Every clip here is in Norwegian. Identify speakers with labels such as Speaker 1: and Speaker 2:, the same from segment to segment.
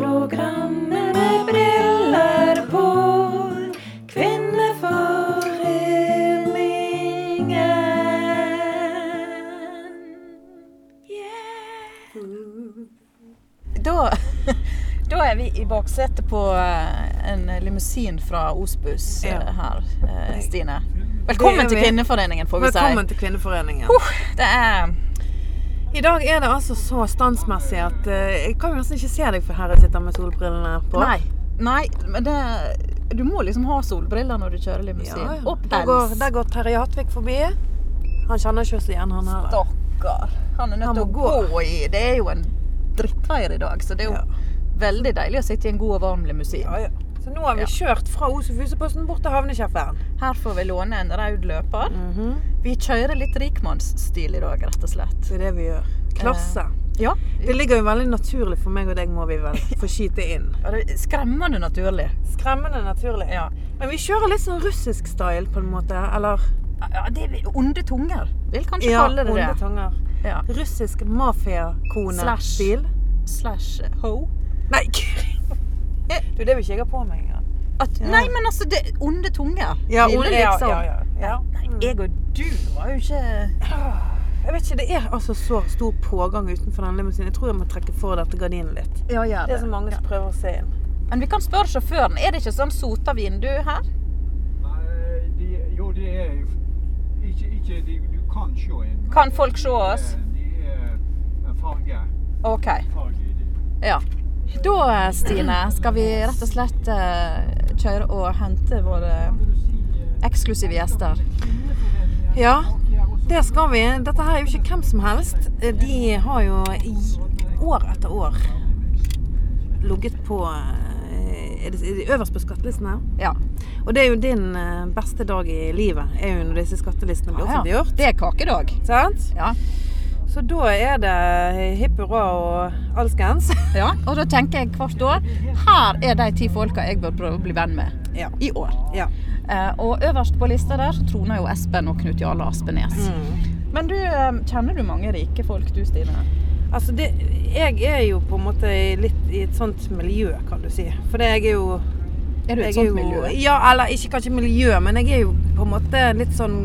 Speaker 1: Radioprogrammet med briller på. Kvinneforeningen.
Speaker 2: Da, da er vi i baksetet på eh, en limousin fra Osbus eh,
Speaker 3: Ja.
Speaker 2: her, eh, Stine. Velkommen
Speaker 3: Det er
Speaker 2: til
Speaker 3: vi.
Speaker 2: Kvinneforeningen, får vi
Speaker 3: Velkommen
Speaker 2: si.
Speaker 3: til Kvinneforeningen.
Speaker 2: Det er
Speaker 3: I dag er det altså så standsmessig at eh, jeg kan jo nesten ikke se deg for her jeg sitter med solbrillene på.
Speaker 2: Nei. Nei, men det Du må liksom ha solbriller når du kjører limousin.
Speaker 3: Ja, ja.
Speaker 2: Og
Speaker 3: Der går,
Speaker 2: pels.
Speaker 3: der går Terje Hatvik forbi. Han kjenner ikke oss igjen, han her.
Speaker 2: Stakkar. Han er nødt
Speaker 3: Han
Speaker 2: til å
Speaker 3: må
Speaker 2: gå. i Det er jo en drittveier i dag, så det er jo
Speaker 3: Ja.
Speaker 2: veldig deilig å sitte i en god og varm limousin.
Speaker 3: Ja, ja. Så nå har vi
Speaker 2: Ja.
Speaker 3: kjørt fra Osefuseposten bort til havnekjeferen.
Speaker 2: Her får vi låne en raud løper. Vi kjører litt rikmannsstil i dag, rett og slett.
Speaker 3: Det er det vi gjør. Klasse.
Speaker 2: Eh, Ja.
Speaker 3: Det ligger jo veldig naturlig for meg og deg, må vi vel få skyte inn.
Speaker 2: Ja, det er Skremmende naturlig.
Speaker 3: Skremmende naturlig.
Speaker 2: Ja.
Speaker 3: Men vi kjører litt sånn russisk style, på en måte. Eller
Speaker 2: ja det er onde tunger. Vil kanskje kalle det
Speaker 3: onde
Speaker 2: det.
Speaker 3: tunger.
Speaker 2: Ja.
Speaker 3: Russisk
Speaker 2: Slash.
Speaker 3: mafiakone-stil.
Speaker 2: Slash eh, ho.
Speaker 3: Nei, du, det vil ikke jeg ha på meg engang.
Speaker 2: At,
Speaker 3: Ja.
Speaker 2: Nei, men altså, det er onde tunger.
Speaker 3: Ja,
Speaker 2: Ville
Speaker 3: onde, liksom. ja, ja, ja, ja.
Speaker 2: Nei, jeg og du var jo ikke
Speaker 3: Jeg vet ikke, Det er altså så stor pågang utenfor denne limousinen. Jeg tror jeg må trekke for dette gardinet litt.
Speaker 2: Ja, gjør
Speaker 3: Det er så mange som prøver å se inn.
Speaker 2: Men vi kan spørre sjåføren. Er det ikke sånn sota vindu her?
Speaker 4: Nei, de, jo, det er jo ikke, ikke de, Du kan se inn. men
Speaker 2: Kan folk se
Speaker 4: de er-
Speaker 2: oss?
Speaker 4: De er en farge,
Speaker 2: OK.
Speaker 4: farge i de.
Speaker 2: Ja. Da, eh, Stine, skal vi rett og slett eh, kjøre og hente våre eksklusive gjester.
Speaker 3: Ja, det skal vi. Dette her er jo ikke hvem som helst. De har jo i år etter år ligget på eh, er det, er det øverst på skattelisten her.
Speaker 2: Ja.
Speaker 3: Og det er jo din eh, beste dag i livet, er jo når disse skattelistene blir
Speaker 2: Ja, ja.
Speaker 3: offentliggjort.
Speaker 2: Det er kakedag.
Speaker 3: Sant?
Speaker 2: Ja.
Speaker 3: Så da er det hipp hurra og alskens.
Speaker 2: Ja, og da tenker jeg hvert år her er de ti folka jeg bør prøve å bli venn med
Speaker 3: Ja.
Speaker 2: i år.
Speaker 3: Ja.
Speaker 2: Eh, og øverst på lista der så troner jo Espen og Knut Jarle Aspenes.
Speaker 3: Mm.
Speaker 2: Men du, eh, kjenner du mange rike folk du, Stine?
Speaker 3: Altså, det, jeg er jo på en måte i litt i et sånt miljø, kan du si. For det, jeg er jo
Speaker 2: Er du i et
Speaker 3: jeg er
Speaker 2: sånt
Speaker 3: jo-
Speaker 2: miljø?
Speaker 3: Ja, eller ikke kanskje miljø, men jeg er jo på en måte litt sånn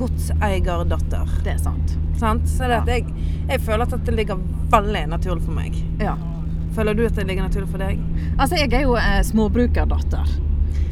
Speaker 3: godseierdatter.
Speaker 2: Det er sant.
Speaker 3: Sant? Så det
Speaker 2: Ja.
Speaker 3: at jeg, jeg føler at dette ligger veldig naturlig for meg.
Speaker 2: Ja.
Speaker 3: Føler du at det ligger naturlig for deg?
Speaker 2: Altså, jeg er jo eh, småbrukerdatter.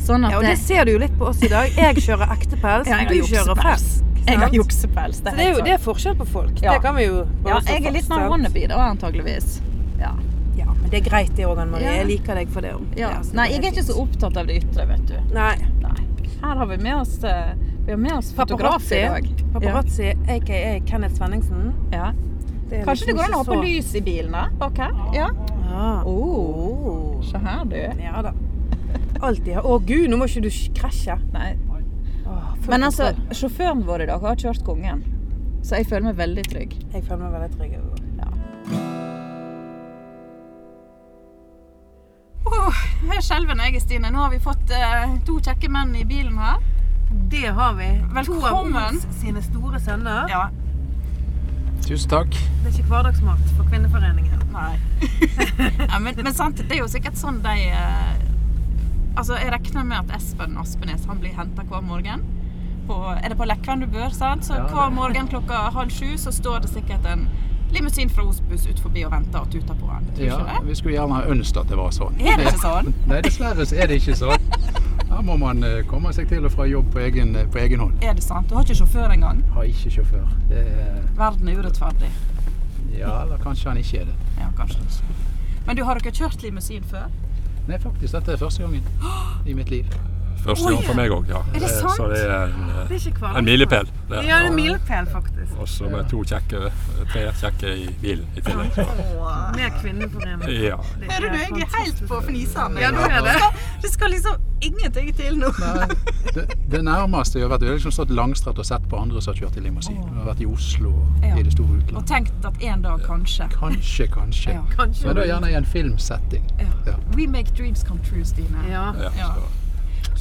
Speaker 2: Sånn at
Speaker 3: Ja, og det ser du jo litt på oss i dag. Jeg kjører ekte pels,
Speaker 2: Ja, jeg har
Speaker 3: du kjører
Speaker 2: juksepels.
Speaker 3: fersk.
Speaker 2: Jeg har
Speaker 3: sant?
Speaker 2: juksepels.
Speaker 3: Så det er jo
Speaker 2: helt
Speaker 3: det
Speaker 2: sant.
Speaker 3: er forskjell på folk.
Speaker 2: Ja.
Speaker 3: Det kan vi jo bare
Speaker 2: Ja,
Speaker 3: slå
Speaker 2: jeg er litt sånn
Speaker 3: fast,
Speaker 2: mer
Speaker 3: sant?
Speaker 2: wannabe da, antageligvis. Ja.
Speaker 3: Ja, men det er greit det òg, Anne Marie.
Speaker 2: Ja.
Speaker 3: Jeg liker deg for det.
Speaker 2: ja. Nei, jeg er ikke så opptatt av det ytre, vet du.
Speaker 3: Nei.
Speaker 2: Nei. Her har vi med oss, eh, vi har med oss fotograf i dag.
Speaker 3: Paparazzi, aka Kenneth Svenningsen.
Speaker 2: Ja. Ja.
Speaker 3: er
Speaker 2: Kanskje det
Speaker 3: liksom
Speaker 2: går an å ha
Speaker 3: ikke
Speaker 2: på
Speaker 3: så-
Speaker 2: lys i bilene bak her? Ja.
Speaker 3: Ja.
Speaker 2: Oh,
Speaker 3: Oh.
Speaker 2: se her, du.
Speaker 3: ja da. Alltid her. Å gud, nå må ikke du sk- krasje.
Speaker 2: Nei.
Speaker 3: Åh, full
Speaker 2: Men altså,
Speaker 3: kontroll.
Speaker 2: sjåføren vår i dag har kjørt kongen, så jeg føler meg veldig trygg.
Speaker 3: Jeg føler meg veldig trygg.
Speaker 2: Hør skjelven jeg er, Stine. Nå har vi fått eh, to kjekke menn i bilen her.
Speaker 3: Det har vi.
Speaker 2: Velkommen.
Speaker 3: To av Ols sine store sønner.
Speaker 2: Ja.
Speaker 5: Tusen takk.
Speaker 3: Det er ikke hverdagsmat for Kvinneforeningen.
Speaker 2: Nei. ja, men, men sant, det er jo sikkert sånn de eh, Altså, jeg regner med at Espen Aspenes han blir henta hver morgen. På, er det på Lekven du bør, sant? Så
Speaker 5: Ja, det-
Speaker 2: hver morgen klokka halv sju så står det sikkert en limousin fra Osbus ut forbi og venter og tuter på han. Tror
Speaker 5: Ja,
Speaker 2: ikke det?
Speaker 5: vi skulle gjerne ha ønsket at det var sånn.
Speaker 2: Er det ikke sånn?
Speaker 5: Nei, dessverre så er det ikke sånn. Da må man eh, komme seg til og fra jobb på egen, eh, på egen hånd.
Speaker 2: Er det sant? Du har ikke sjåfør engang.
Speaker 5: Har ikke sjåfør. Det er,
Speaker 2: Verden er urettferdig.
Speaker 5: ja, eller kanskje han ikke er det.
Speaker 2: Ja, kanskje ikke. Men du har dere kjørt limousin før?
Speaker 5: Nei, faktisk, dette er første gangen i mitt liv.
Speaker 6: Første gang for meg òg, ja.
Speaker 2: Er det
Speaker 6: Eh,
Speaker 2: sant?
Speaker 6: Så det er en,
Speaker 3: Det
Speaker 6: eh,
Speaker 3: er ikke hverdagsmat.
Speaker 6: en milepæl. det.
Speaker 3: Ja, det er en milepæl, faktisk.
Speaker 6: Og så med to kjekke, tre kjekke i bilen i tillegg. Så.
Speaker 3: Med Kvinneforeningen.
Speaker 6: Ja.
Speaker 3: Det
Speaker 2: Hører du, jeg er helt på fnisene.
Speaker 3: Ja, nå er det.
Speaker 2: Det skal liksom ingenting til nå.
Speaker 5: Nei, det, det nærmeste jeg har vært, jeg har liksom stått langstrakt og sett på andre som har kjørt i limousin. Jeg har vært i Oslo og
Speaker 2: Ja.
Speaker 5: i det store
Speaker 2: Og
Speaker 5: utlandet.
Speaker 2: tenkt at en dag kanskje.
Speaker 5: Kanskje, kanskje.
Speaker 2: Ja.
Speaker 3: Kanskje.
Speaker 5: Men da gjerne i en filmsetting.
Speaker 2: Ja.
Speaker 5: Ja.
Speaker 2: We make dreams come true, Stine.
Speaker 3: Ja.
Speaker 6: Ja,
Speaker 2: Ja.
Speaker 6: så.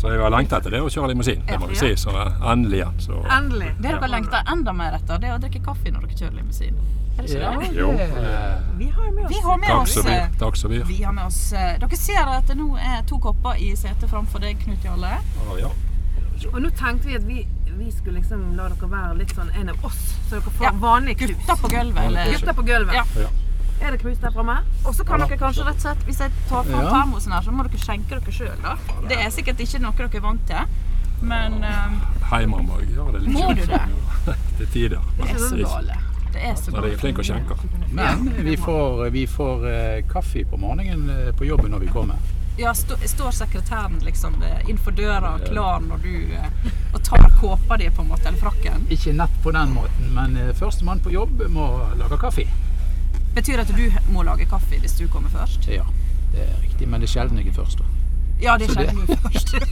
Speaker 6: Så jeg har lengta etter det å kjøre limousin, det må vi si. Så eh, endelig. ja, Så
Speaker 3: Endelig.
Speaker 2: Det dere lengter enda mer etter, det er å drikke kaffe når dere kjører limousin. Er det ikke det?
Speaker 6: jo.
Speaker 5: Eh,
Speaker 3: Vi har jo med oss
Speaker 2: Vi har med
Speaker 6: Takk
Speaker 2: oss,
Speaker 6: som byr.
Speaker 2: eh,
Speaker 6: Takk som byr.
Speaker 2: vi har med oss eh, Dere ser at det nå er to kopper i setet framfor deg, Knut Jarle.
Speaker 6: Å, ja.
Speaker 3: Og nå tenkte vi at vi, vi skulle liksom la dere være litt sånn en av oss, så dere får
Speaker 2: Ja.
Speaker 3: vanlige krus.
Speaker 2: Gutter på gulvet. Eller?
Speaker 3: Gutter på gulvet.
Speaker 2: Ja.
Speaker 6: Ja.
Speaker 3: Er det krus der framme?
Speaker 2: Og så kan dere kanskje rett og slett, hvis jeg tar fram
Speaker 5: Ja.
Speaker 2: termosen her, så må dere skjenke dere sjøl, da. Det er sikkert ikke noe dere er vant til, men eh,
Speaker 6: Hjemme må jeg gjøre det litt.
Speaker 2: Må du det?
Speaker 6: Til tider.
Speaker 2: det er så
Speaker 6: Ikke-
Speaker 2: gale. Det er så
Speaker 6: Når jeg er
Speaker 2: gale.
Speaker 6: flink og skjenker.
Speaker 5: Men vi får, vi får eh, kaffe på morgenen eh, på jobben når vi kommer.
Speaker 2: Ja, stå, står sekretæren liksom eh, innenfor døra klar når du eh, og tar kåpa di, på en måte, eller frakken?
Speaker 5: Ikke nett på den måten, men eh, førstemann på jobb må lage kaffe.
Speaker 2: Betyr det at du må lage kaffe hvis du kommer først?
Speaker 5: Ja, det er riktig, men det er sjelden jeg er først. da.
Speaker 2: Ja, det
Speaker 5: Så det-
Speaker 2: skjedde du først.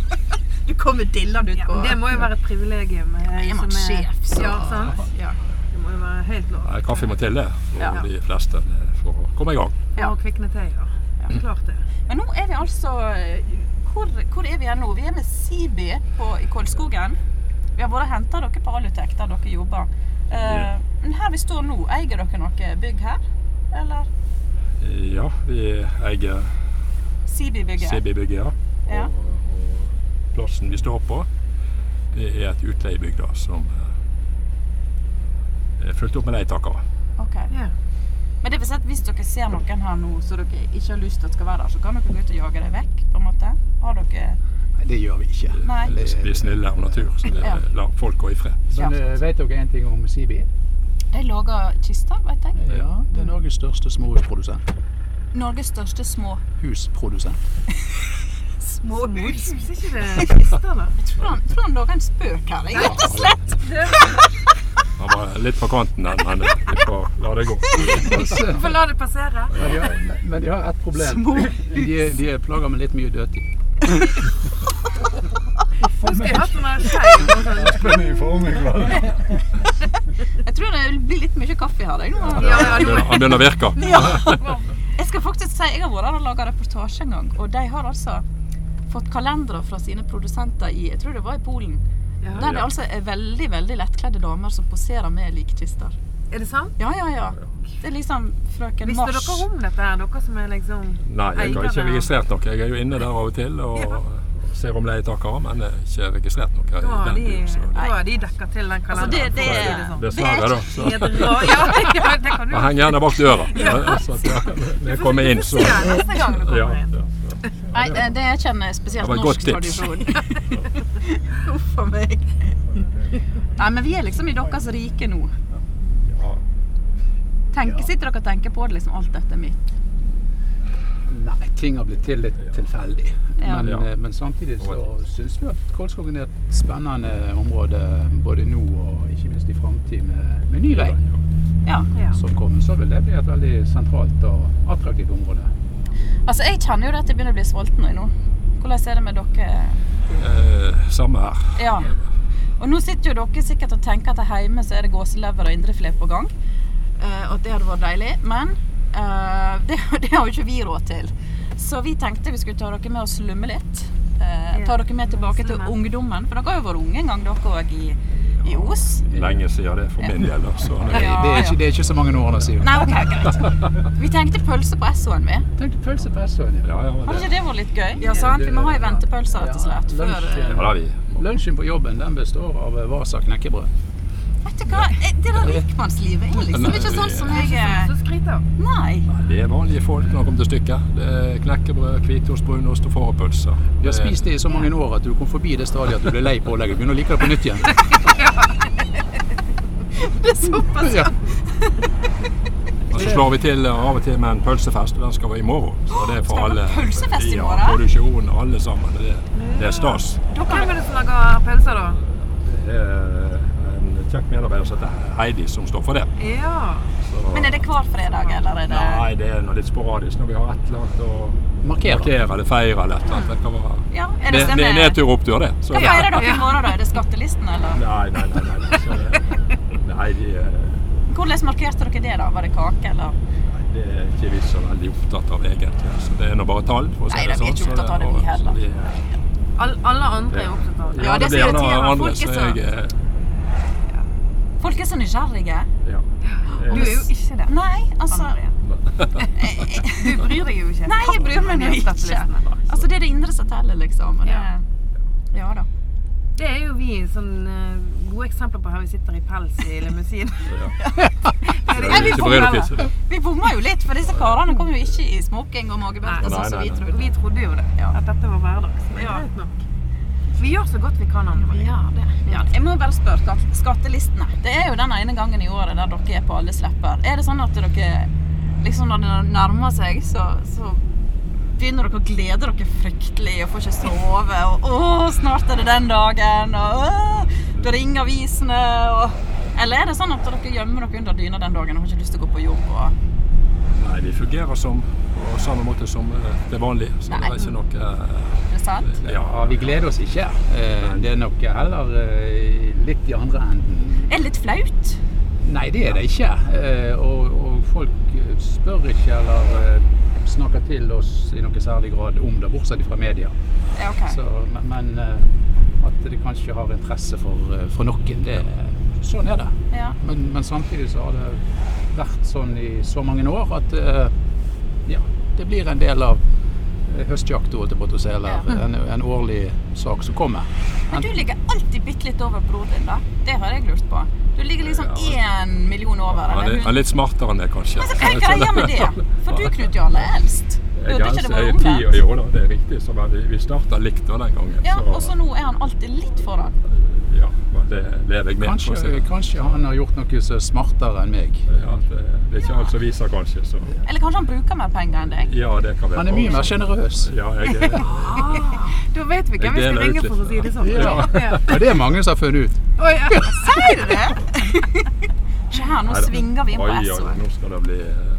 Speaker 2: Du kommer dillende ut
Speaker 3: Ja,
Speaker 2: på
Speaker 3: men det må jo være et privilegium. eh,
Speaker 2: Jeg er man
Speaker 3: som er-
Speaker 2: sjef, så
Speaker 3: Ja, sant?
Speaker 2: Ja.
Speaker 3: Det må jo være helt lov.
Speaker 6: Nei, Kaffe må til det for
Speaker 2: Ja.
Speaker 6: de fleste eh, for å komme i gang.
Speaker 3: Ja. Og kvikne til, ja. Klart det.
Speaker 2: Men nå er vi altså Hvor, hvor er vi her nå? Vi er med Siby på, i Kolskogen. Vi har vært og henta dere på Alutek, der dere jobber. Eh,
Speaker 6: Ja.
Speaker 2: Men her vi står nå, eier dere noe bygg her? Eller
Speaker 6: Ja, vi eier
Speaker 2: Siby-bygget?
Speaker 6: CB-bygget, ja.
Speaker 2: Ja.
Speaker 6: Og, og plassen vi står på, det er et utleiebygg da, som eh, er fulgt opp med leietakere.
Speaker 2: Ok.
Speaker 3: Ja.
Speaker 2: Men det vil si at hvis dere ser noen her nå som dere ikke har lyst til at skal være der, så kan dere gå ut og jage dem vekk? på en måte? Har dere
Speaker 5: Nei, det gjør vi ikke.
Speaker 2: Nei.
Speaker 6: Vi vi er snille av natur, så vi
Speaker 2: Ja.
Speaker 6: lar folk gå i fred.
Speaker 5: Men eh, vet dere en ting om Sibi?
Speaker 2: De lager kister, vet jeg.
Speaker 5: Ja, det er Norges største småhusprodusent.
Speaker 2: Norges største små
Speaker 5: Husprodusent.
Speaker 2: småhus.
Speaker 3: Hvis ikke det frister, da.
Speaker 2: Jeg tror han, tror han lager en spøk her. Jeg.
Speaker 6: rett og slett. Han var litt på kanten, den, men vi får la det gå.
Speaker 3: Vi får la det passere.
Speaker 5: Men de har, men de har et problem. De, de plager med litt mye dødtid.
Speaker 3: Nå skal jeg ha sånn her skeiv.
Speaker 4: Men jeg får meg vel.
Speaker 2: jeg tror det blir litt mye kaffe her. Jeg, nå.
Speaker 3: Ja, ja,
Speaker 6: Han
Speaker 3: nå-
Speaker 6: begynner- han begynner å virke.
Speaker 2: jeg skal faktisk si jeg har vært her og laga reportasje en gang, og de har altså fått kalendere fra sine produsenter i jeg tror det var i Polen. Der det
Speaker 6: Ja.
Speaker 2: altså er veldig veldig lettkledde damer som poserer med likkister.
Speaker 3: Er det sant?
Speaker 2: Ja, ja, ja. Det er liksom frøken
Speaker 3: Visste
Speaker 2: Mars.
Speaker 3: dere om dette her, dere som er liksom
Speaker 6: Nei, jeg har ikke registrert noe. Jeg er jo inne der av og til og ser om leietakere, men jeg har ikke registrert noe.
Speaker 3: Da
Speaker 6: i
Speaker 3: har
Speaker 6: den
Speaker 3: de,
Speaker 6: byen, så det-
Speaker 3: da har de dekka til den
Speaker 2: Altså,
Speaker 3: kalenderen.
Speaker 2: det- det-
Speaker 3: for å si det sånn.
Speaker 6: Dessverre, da. Så.
Speaker 3: Det er et ra- Ja, ja, det kan du
Speaker 6: Jeg henger gjerne bak døra. Ja, så at jeg- når jeg kommer inn, så
Speaker 3: se neste gang du
Speaker 6: ja,
Speaker 3: kommer inn.
Speaker 6: ja.
Speaker 2: Nei, det- det jeg kjenner jeg
Speaker 6: Det
Speaker 2: spesielt
Speaker 6: var
Speaker 2: norsk
Speaker 6: et godt tips.
Speaker 2: tradisjon. Uff a meg. Nei, men vi er liksom i deres rike nå.
Speaker 6: Ja.
Speaker 2: Tenk, sitter dere og tenker på det liksom alt dette er mitt?
Speaker 5: Nei, ting har blitt til litt tilfeldig.
Speaker 2: Ja.
Speaker 5: Men,
Speaker 6: Ja.
Speaker 5: eh, men samtidig så syns vi at Kolskogen er et spennende område både nå og ikke minst i framtid med, med ny vei.
Speaker 2: Ja.
Speaker 3: Ja.
Speaker 5: Som kommer, så vil det bli et veldig sentralt og attraktivt område.
Speaker 2: Altså, jeg kjenner jo det at jeg begynner å bli sulten nå. Hvordan er det med dere?
Speaker 6: Eh, samme her.
Speaker 2: Ja. Og nå sitter jo dere sikkert og tenker at hjemme så er det gåselever og indrefilet på gang. eh, Og at det hadde vært deilig. Men eh, det, det har jo ikke vi råd til. Så vi tenkte vi skulle ta dere med og slumme litt. Eh, ta dere med tilbake til
Speaker 3: slumme.
Speaker 2: ungdommen. For dere har jo vært unge en gang, dere òg, i, i Os.
Speaker 6: Lenge siden det, for min del. da, Så
Speaker 5: Det,
Speaker 6: det-
Speaker 5: det, er, ikke, det er ikke så mange årene siden.
Speaker 2: Nei, OK, greit. Vi tenkte pølse på SO-en, vi.
Speaker 5: Tenk deg pølse på Esøen.
Speaker 6: ja, ja,
Speaker 2: Hadde
Speaker 6: det,
Speaker 2: ikke det vært litt gøy? Ja, sant? Vi må ha ei ventepølse, rett og slett.
Speaker 5: Ja,
Speaker 2: Før eh,
Speaker 5: lunsj,
Speaker 6: ja da, vi.
Speaker 5: Lunsjen på jobben den består av eh, Vasa knekkebrød.
Speaker 2: Vet du hva, Eh, det der rikmannslivet er liksom ikke sånn som jeg eh,
Speaker 3: Så skryt av.
Speaker 2: Nei.
Speaker 6: Vi er vanlige folk når det kommer til stykket. Det er knekkebrød, hvitost, brunost og fårepølser.
Speaker 5: Vi har spist det i så mange år at du kom forbi det stadiet at du ble lei pålegget. Du begynner å like det på nytt igjen.
Speaker 2: Det er såpass.
Speaker 5: Ja.
Speaker 6: Og så slår vi til av og til med en pølsefest, og den skal være i morgen. Så det er for
Speaker 2: Skal dere
Speaker 6: alle.
Speaker 2: ha pølsefest i morgen?
Speaker 6: Ja, produksjonen, alle sammen. Det, det er stas.
Speaker 3: Hvem er det som lager pølser, da?
Speaker 6: Det er eh, en kjekk medarbeider som heter Heidi, som står for det.
Speaker 3: Ja.
Speaker 6: Så-
Speaker 2: Men er det hver fredag, eller er det
Speaker 6: Nei, det er noe litt sporadisk når vi har et eller annet å
Speaker 5: Markere.
Speaker 6: markere eller feire eller et eller annet. Det kan være
Speaker 2: Ja, er det
Speaker 6: Det, det er
Speaker 2: stemmer?
Speaker 6: nedtur og opptur, det. Så
Speaker 2: Hva
Speaker 6: det.
Speaker 2: feirer dere i
Speaker 3: Ja.
Speaker 2: morgen, da? Er det skattelisten, eller?
Speaker 6: Nei, nei, nei. nei. Så det, nei, de, eh,
Speaker 2: Hvordan markerte dere det, da? Var det kake, eller?
Speaker 6: det er ikke vi så veldig opptatt av, egentlig. Så altså. det er nå bare tall. for å si
Speaker 2: Nei, da, vi
Speaker 6: det
Speaker 2: er
Speaker 6: sånn,
Speaker 2: ikke
Speaker 6: så
Speaker 2: opptatt av det, vi
Speaker 6: og-
Speaker 2: heller.
Speaker 6: så vi, eh,
Speaker 3: All, alle andre er opptatt av det.
Speaker 2: Ja, det som
Speaker 6: blir gjerne
Speaker 2: irriterer folk
Speaker 6: annerledes,
Speaker 2: er
Speaker 6: så
Speaker 2: så-
Speaker 6: jeg, eh,
Speaker 2: Folk er så nysgjerrige.
Speaker 6: ja. Eh,
Speaker 3: Du er jo ikke det.
Speaker 2: Nei, altså
Speaker 3: Du bryr deg jo ikke.
Speaker 2: Nei, jeg bryr meg nå
Speaker 3: Om de
Speaker 2: ikke.
Speaker 3: skattelistene.
Speaker 2: Altså, det er det indre som teller, liksom. Og det,
Speaker 3: Ja.
Speaker 2: ja da.
Speaker 3: Det er jo vi sånn eh, gode eksempler på her vi sitter i pels i limousin.
Speaker 2: Nei, vi
Speaker 6: Ikke
Speaker 2: får
Speaker 6: bry deg,
Speaker 2: prøve.
Speaker 6: Tisse.
Speaker 2: Vi bomma jo litt, for disse karene kom jo ikke i smoking og magebelter,
Speaker 6: Nei.
Speaker 2: sånn som vi
Speaker 6: Nei, nei, nei.
Speaker 2: trodde.
Speaker 3: altså, Vi trodde jo det.
Speaker 2: Ja.
Speaker 3: At dette var hverdags. Men
Speaker 2: Ja.
Speaker 3: greit nok. Vi gjør så godt vi kan, Anne Marie.
Speaker 2: Ja, det. Ja, jeg må bare spørre skatt- skattelistene. Det er jo den ene gangen i året der dere er på alle slipper. Er det sånn at dere liksom når det nærmer seg, så, så begynner dere å glede dere fryktelig og får ikke sove og 'Å, snart er det den dagen', og «Å, da ringer avisene og Eller er det sånn at dere gjemmer dere under dyna den dagen og har ikke lyst til å gå på jobb og
Speaker 6: Nei, vi fungerer som på samme måte som eh, det vanlige. Så det
Speaker 2: Nei.
Speaker 6: er ikke noe eh,
Speaker 2: Er det sant?
Speaker 5: Ja, vi gleder oss ikke. Eh, Det er nok heller eh, litt i andre enden.
Speaker 2: Er det litt flaut?
Speaker 5: Nei, det er det ikke. Eh, Og, og folk eh, spør ikke eller eh, snakker til oss i noe særlig grad om det, bortsett fra media.
Speaker 2: Ja, ok.
Speaker 5: Så, men men eh, at det kanskje har interesse for, eh, for noen, det, sånn er det.
Speaker 2: Ja.
Speaker 5: Men, men samtidig så har det vært sånn i så mange år at eh, ja, det blir en del av eh, høstjakta, holdt jeg på å si, eller en, en årlig sak som kommer.
Speaker 2: Men du ligger alltid bitte litt over broren din, da. Det har jeg lurt på. Du ligger liksom én million over.
Speaker 6: Han
Speaker 2: Eller
Speaker 6: er, han er
Speaker 2: hun.
Speaker 6: litt smartere enn det, kanskje.
Speaker 2: Men så hva er greia med det? For du, Knut Jarle, er eldst.
Speaker 6: Jeg
Speaker 2: Burde
Speaker 6: er, altså-
Speaker 2: ikke det være
Speaker 6: jeg er ti
Speaker 2: omvendt?
Speaker 6: år, jo da, det er riktig. Så men vi, vi starta likt da den gangen.
Speaker 2: Ja, og så nå er han alltid litt foran.
Speaker 6: ja, men det lever jeg med. for å si
Speaker 5: Kanskje,
Speaker 6: det.
Speaker 5: kanskje han har gjort noe som er smartere enn meg.
Speaker 6: Ja, det, det er ikke alt som viser, kanskje. Så
Speaker 2: Eller kanskje han bruker mer penger enn deg.
Speaker 6: ja, det kan være
Speaker 5: Han er mye
Speaker 6: bra.
Speaker 5: mer sjenerøs.
Speaker 6: Ja, jeg er
Speaker 3: Da vet vi hvem vi
Speaker 6: Jeg
Speaker 3: skal
Speaker 6: deler ut
Speaker 3: ringe
Speaker 6: litt.
Speaker 3: for å si det sånn.
Speaker 5: Ja. Og det er mange som har funnet ut.
Speaker 3: Oi, ja.
Speaker 2: Sier du det? Se her, nå
Speaker 6: Nei da.
Speaker 2: svinger vi inn på
Speaker 6: Oi, ja,
Speaker 2: Esso.
Speaker 6: Nå skal det bli eh,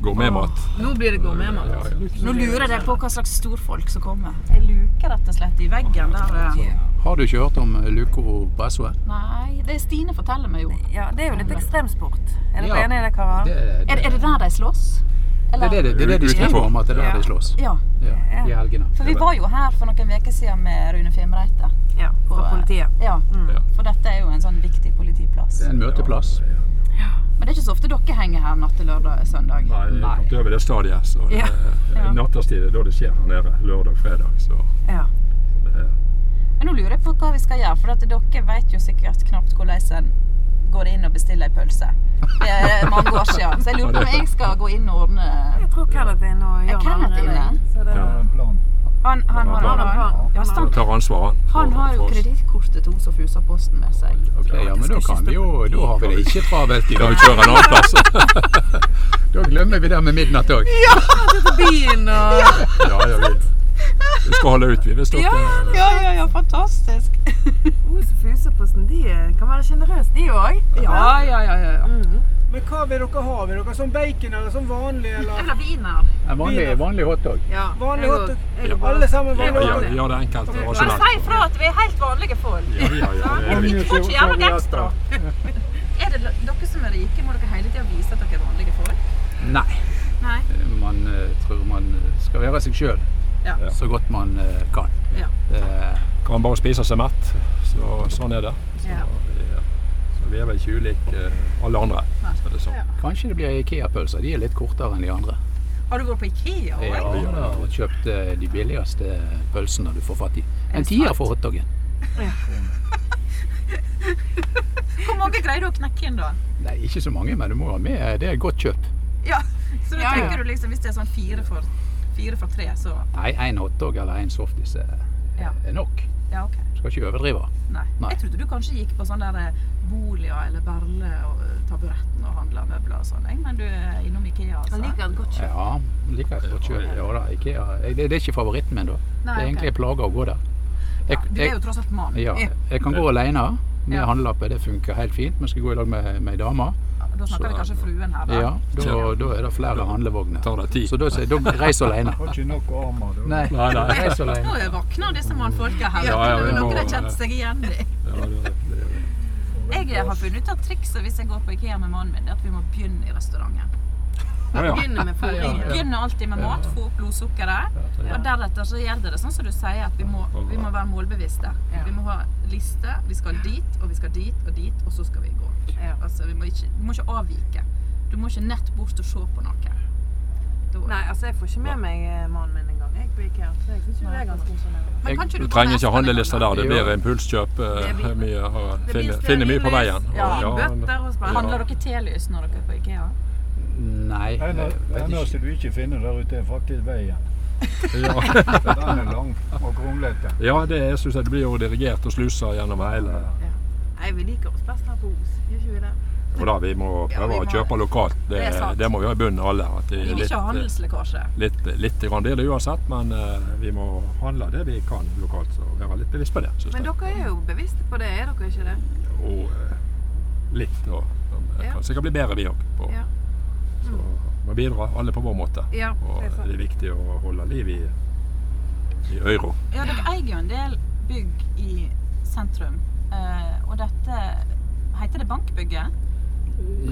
Speaker 6: gourmetmat.
Speaker 3: Nå blir det gourmetmat.
Speaker 6: Ja, ja.
Speaker 2: Nå lurer jeg på hva slags storfolk som kommer. Jeg luker rett og slett i veggen der. eh.
Speaker 5: Har du ikke hørt om eh, Luco Bresso?
Speaker 2: Nei, det er Stine forteller meg jo.
Speaker 3: Ja, det er jo litt ekstremsport. Er dere
Speaker 5: Ja.
Speaker 3: enig i det, karer?
Speaker 5: Det,
Speaker 2: Er, er det der de slåss?
Speaker 5: det, er det, det, er det de skriver om, at det er der de slåss.
Speaker 2: Ja.
Speaker 5: Ja, I helgene.
Speaker 2: For vi var jo her for noen uker siden med Rune Fimreite.
Speaker 3: Ja,
Speaker 2: På,
Speaker 3: fra
Speaker 2: eh,
Speaker 3: politiet. Mm.
Speaker 2: Ja.
Speaker 6: Ja.
Speaker 2: For dette er jo en sånn viktig politiplass.
Speaker 5: Det er en møteplass.
Speaker 2: Men det er ikke så ofte dere henger her natt til lørdag og søndag.
Speaker 6: Nei, jeg
Speaker 5: Nei.
Speaker 6: kom til over det stadiet. Så det,
Speaker 3: Ja.
Speaker 2: Ja.
Speaker 6: er Nattestid er da det skjer her nede. Lørdag, fredag. Så eh,
Speaker 3: Ja.
Speaker 6: det,
Speaker 2: Men nå lurer jeg på hva vi skal gjøre, for at dere vet jo sikkert knapt hvordan en går inn og bestiller ei pølse. Det er mange år siden. Så jeg lurer på om jeg skal gå inn og ordne
Speaker 3: Jeg tror Kenneth er inne og
Speaker 2: Er
Speaker 3: gjør
Speaker 2: Kenneth inne?
Speaker 3: Så det,
Speaker 6: Ja.
Speaker 4: Plan.
Speaker 2: Han, han, har-
Speaker 6: Han har
Speaker 2: han,
Speaker 3: plan.
Speaker 2: ja,
Speaker 6: da
Speaker 2: stakk.
Speaker 6: tar ansvaret.
Speaker 2: han har jo kredittkortet til hun som fuser posten med seg.
Speaker 5: Ok, ja, men da kan vi jo Da har vi det ikke travelt i
Speaker 6: Kan
Speaker 5: dag.
Speaker 6: vi kjøre en annen plass?
Speaker 5: Da glemmer vi det med midnatt òg.
Speaker 3: Byen og
Speaker 6: Ja, ja, vi, vi skal holde ut, vi. Hvis dere
Speaker 2: Ja, ja, ja, fantastisk.
Speaker 3: Os og Fuseposten. De eh, kan være sjenerøse, de òg.
Speaker 2: Ja, ja, ja, ja.
Speaker 4: Men hva vil dere ha? Vil dere som bacon eller som vanlig? Eller
Speaker 3: Eller wiener.
Speaker 5: En vanlig, vanlig hotdog.
Speaker 3: Ja.
Speaker 4: vanlig
Speaker 3: jeg går-
Speaker 4: hotdog?
Speaker 3: jeg går-
Speaker 4: Alle sammen
Speaker 6: ja,
Speaker 4: vanlig?
Speaker 6: ja,
Speaker 4: hotdog?
Speaker 6: vi gjør det enkelt og
Speaker 2: Bare
Speaker 6: rasjonelt.
Speaker 2: si ifra at vi er helt vanlige folk.
Speaker 6: Ja, ja, ja, det er
Speaker 2: Vi
Speaker 6: vi.
Speaker 2: får ikke gjøre noe ekstra. Er det dere som er rike, må dere hele tida vise at dere er vanlige folk?
Speaker 5: Nei.
Speaker 2: Nei.
Speaker 5: Man eh, tror man skal være seg sjøl
Speaker 2: Ja.
Speaker 5: så godt man eh, kan.
Speaker 2: Ja.
Speaker 5: Eh,
Speaker 6: Kan bare spise seg mett. Så sånn er det. Så,
Speaker 2: Ja.
Speaker 6: vi, så vi er vel ikke ulike eh, alle andre. Så det er sånn.
Speaker 5: kanskje det blir Ikea-pølser. De er litt kortere enn de andre.
Speaker 2: Har du vært på Ikea òg?
Speaker 5: Ja, da, og kjøpt eh, de billigste pølsene du får fatt i. En tier for hotdogen.
Speaker 2: Hvor mange greier du å knekke inn da?
Speaker 5: Nei, ikke så mange, men du må ha med. eh, Det er godt kjøp.
Speaker 2: Ja. Så da
Speaker 3: Ja, ja.
Speaker 2: tenker du liksom hvis det er sånn fire for, fire for tre, så
Speaker 5: Nei, én hotdog eller én softis er
Speaker 2: Ja.
Speaker 5: er nok.
Speaker 2: Ja, OK.
Speaker 5: Skal ikke overdrive.
Speaker 2: Nei.
Speaker 5: Nei.
Speaker 2: Jeg trodde du kanskje gikk på sånn der eh, Bolia eller Berle og eh, Taburetten og handla møbler og sånn, jeg, men du er innom Ikea,
Speaker 3: Han
Speaker 2: altså.
Speaker 3: liker et godt kjøtt.
Speaker 5: Ja, liker jeg godt kjøp. Ja, da, Ikea. Jeg- Det det er ikke favoritten min, da. Det
Speaker 2: Nei,
Speaker 5: er
Speaker 2: ok.
Speaker 5: egentlig en plage å gå der. Jeg,
Speaker 2: Du er
Speaker 5: jeg,
Speaker 2: jo tross alt mann.
Speaker 5: ja, jeg kan gå alene med handlelappe, det funker helt fint. Men skal jeg gå i lag med, med ei dame,
Speaker 2: Da snakker vi kanskje fruen her, da.
Speaker 5: ja, da, da er det flere handlevogner.
Speaker 6: Tar det tid.
Speaker 5: Så da sier jeg da reis alene.
Speaker 4: Har ikke nok armer, du.
Speaker 5: Nei,
Speaker 6: Nei, nei.
Speaker 5: reis alene.
Speaker 2: Nå våkner disse mannfolka her.
Speaker 6: Ja, ja,
Speaker 2: det er
Speaker 6: vi må-
Speaker 2: noen de kjente seg igjen i.
Speaker 6: Ja, det, det,
Speaker 2: Jeg har funnet ut at trikset hvis jeg går på Ikea med mannen min, er at vi må begynne i restauranten.
Speaker 6: Å ja.
Speaker 3: Begynner med
Speaker 2: Vi
Speaker 3: fôringen.
Speaker 2: begynner alltid med mat, få opp blodsukkeret.
Speaker 6: Ja.
Speaker 2: Og deretter så gjelder det sånn som du sier, at vi må, vi må være målbevisste.
Speaker 3: Ja.
Speaker 2: Vi må ha liste. Vi skal dit, og vi skal dit, og dit, og så skal vi gå.
Speaker 3: Ja.
Speaker 2: Altså, vi må ikke, vi må ikke avvike. Du må ikke nett bort og se på noe. Da-
Speaker 3: Nei, altså jeg får ikke med meg eh, mannen min engang. Jeg på IKEA. Så jeg synes jo det er ganske imponerende.
Speaker 2: Men kan ikke
Speaker 6: Du
Speaker 2: gå
Speaker 6: trenger
Speaker 2: med
Speaker 6: ikke
Speaker 2: hesten
Speaker 6: handlelister
Speaker 2: en gang,
Speaker 6: der.
Speaker 5: Jo.
Speaker 6: Det blir impulskjøp. eh,
Speaker 3: Det blir-
Speaker 6: mye, har-
Speaker 3: Det blir
Speaker 6: finner, finner mye på
Speaker 3: stearinlys,
Speaker 6: veien. Og-
Speaker 3: Ja,
Speaker 6: ja, men-
Speaker 3: bøtter og
Speaker 2: da?
Speaker 3: spann.
Speaker 2: Handler dere telys når dere er på Ikea?
Speaker 5: Nei,
Speaker 4: Det
Speaker 5: jeg vet ikke.
Speaker 4: eneste du ikke finner der ute, er faktisk veien.
Speaker 6: ja.
Speaker 4: For den er lang og kronglete.
Speaker 6: ja, det er, synes jeg, det blir jo dirigert og slusa gjennom hele
Speaker 3: Nei, vi liker oss best her på Os. Gjør ikke vi det?
Speaker 6: Og da, Vi må
Speaker 3: Ja,
Speaker 6: prøve
Speaker 3: vi
Speaker 6: å
Speaker 3: må-
Speaker 6: kjøpe lokalt. Det,
Speaker 3: Det er sant.
Speaker 6: det må vi ha i bunnen, alle. At det
Speaker 2: Vi
Speaker 6: er
Speaker 2: vil
Speaker 6: litt, eh,
Speaker 2: ikke ha handelslekkasje.
Speaker 6: litt, litt grann det er det uansett, men eh, vi må handle det vi kan lokalt. Så være litt bevisst på det. Synes
Speaker 3: Men
Speaker 6: jeg.
Speaker 3: dere er jo bevisste på det, er dere ikke det?
Speaker 6: Og eh, litt. Og, og
Speaker 3: Ja.
Speaker 6: kan sikkert bli bedre, vi òg. på-
Speaker 3: Ja.
Speaker 6: Så
Speaker 2: Mm.
Speaker 6: må bidra, alle på vår måte.
Speaker 3: Ja,
Speaker 6: Og
Speaker 3: det er sant.
Speaker 6: det er viktig å holde liv i, i euro.
Speaker 2: Ja, dere eier jo en del bygg i sentrum. Eh, og dette Heter det Bankbygget?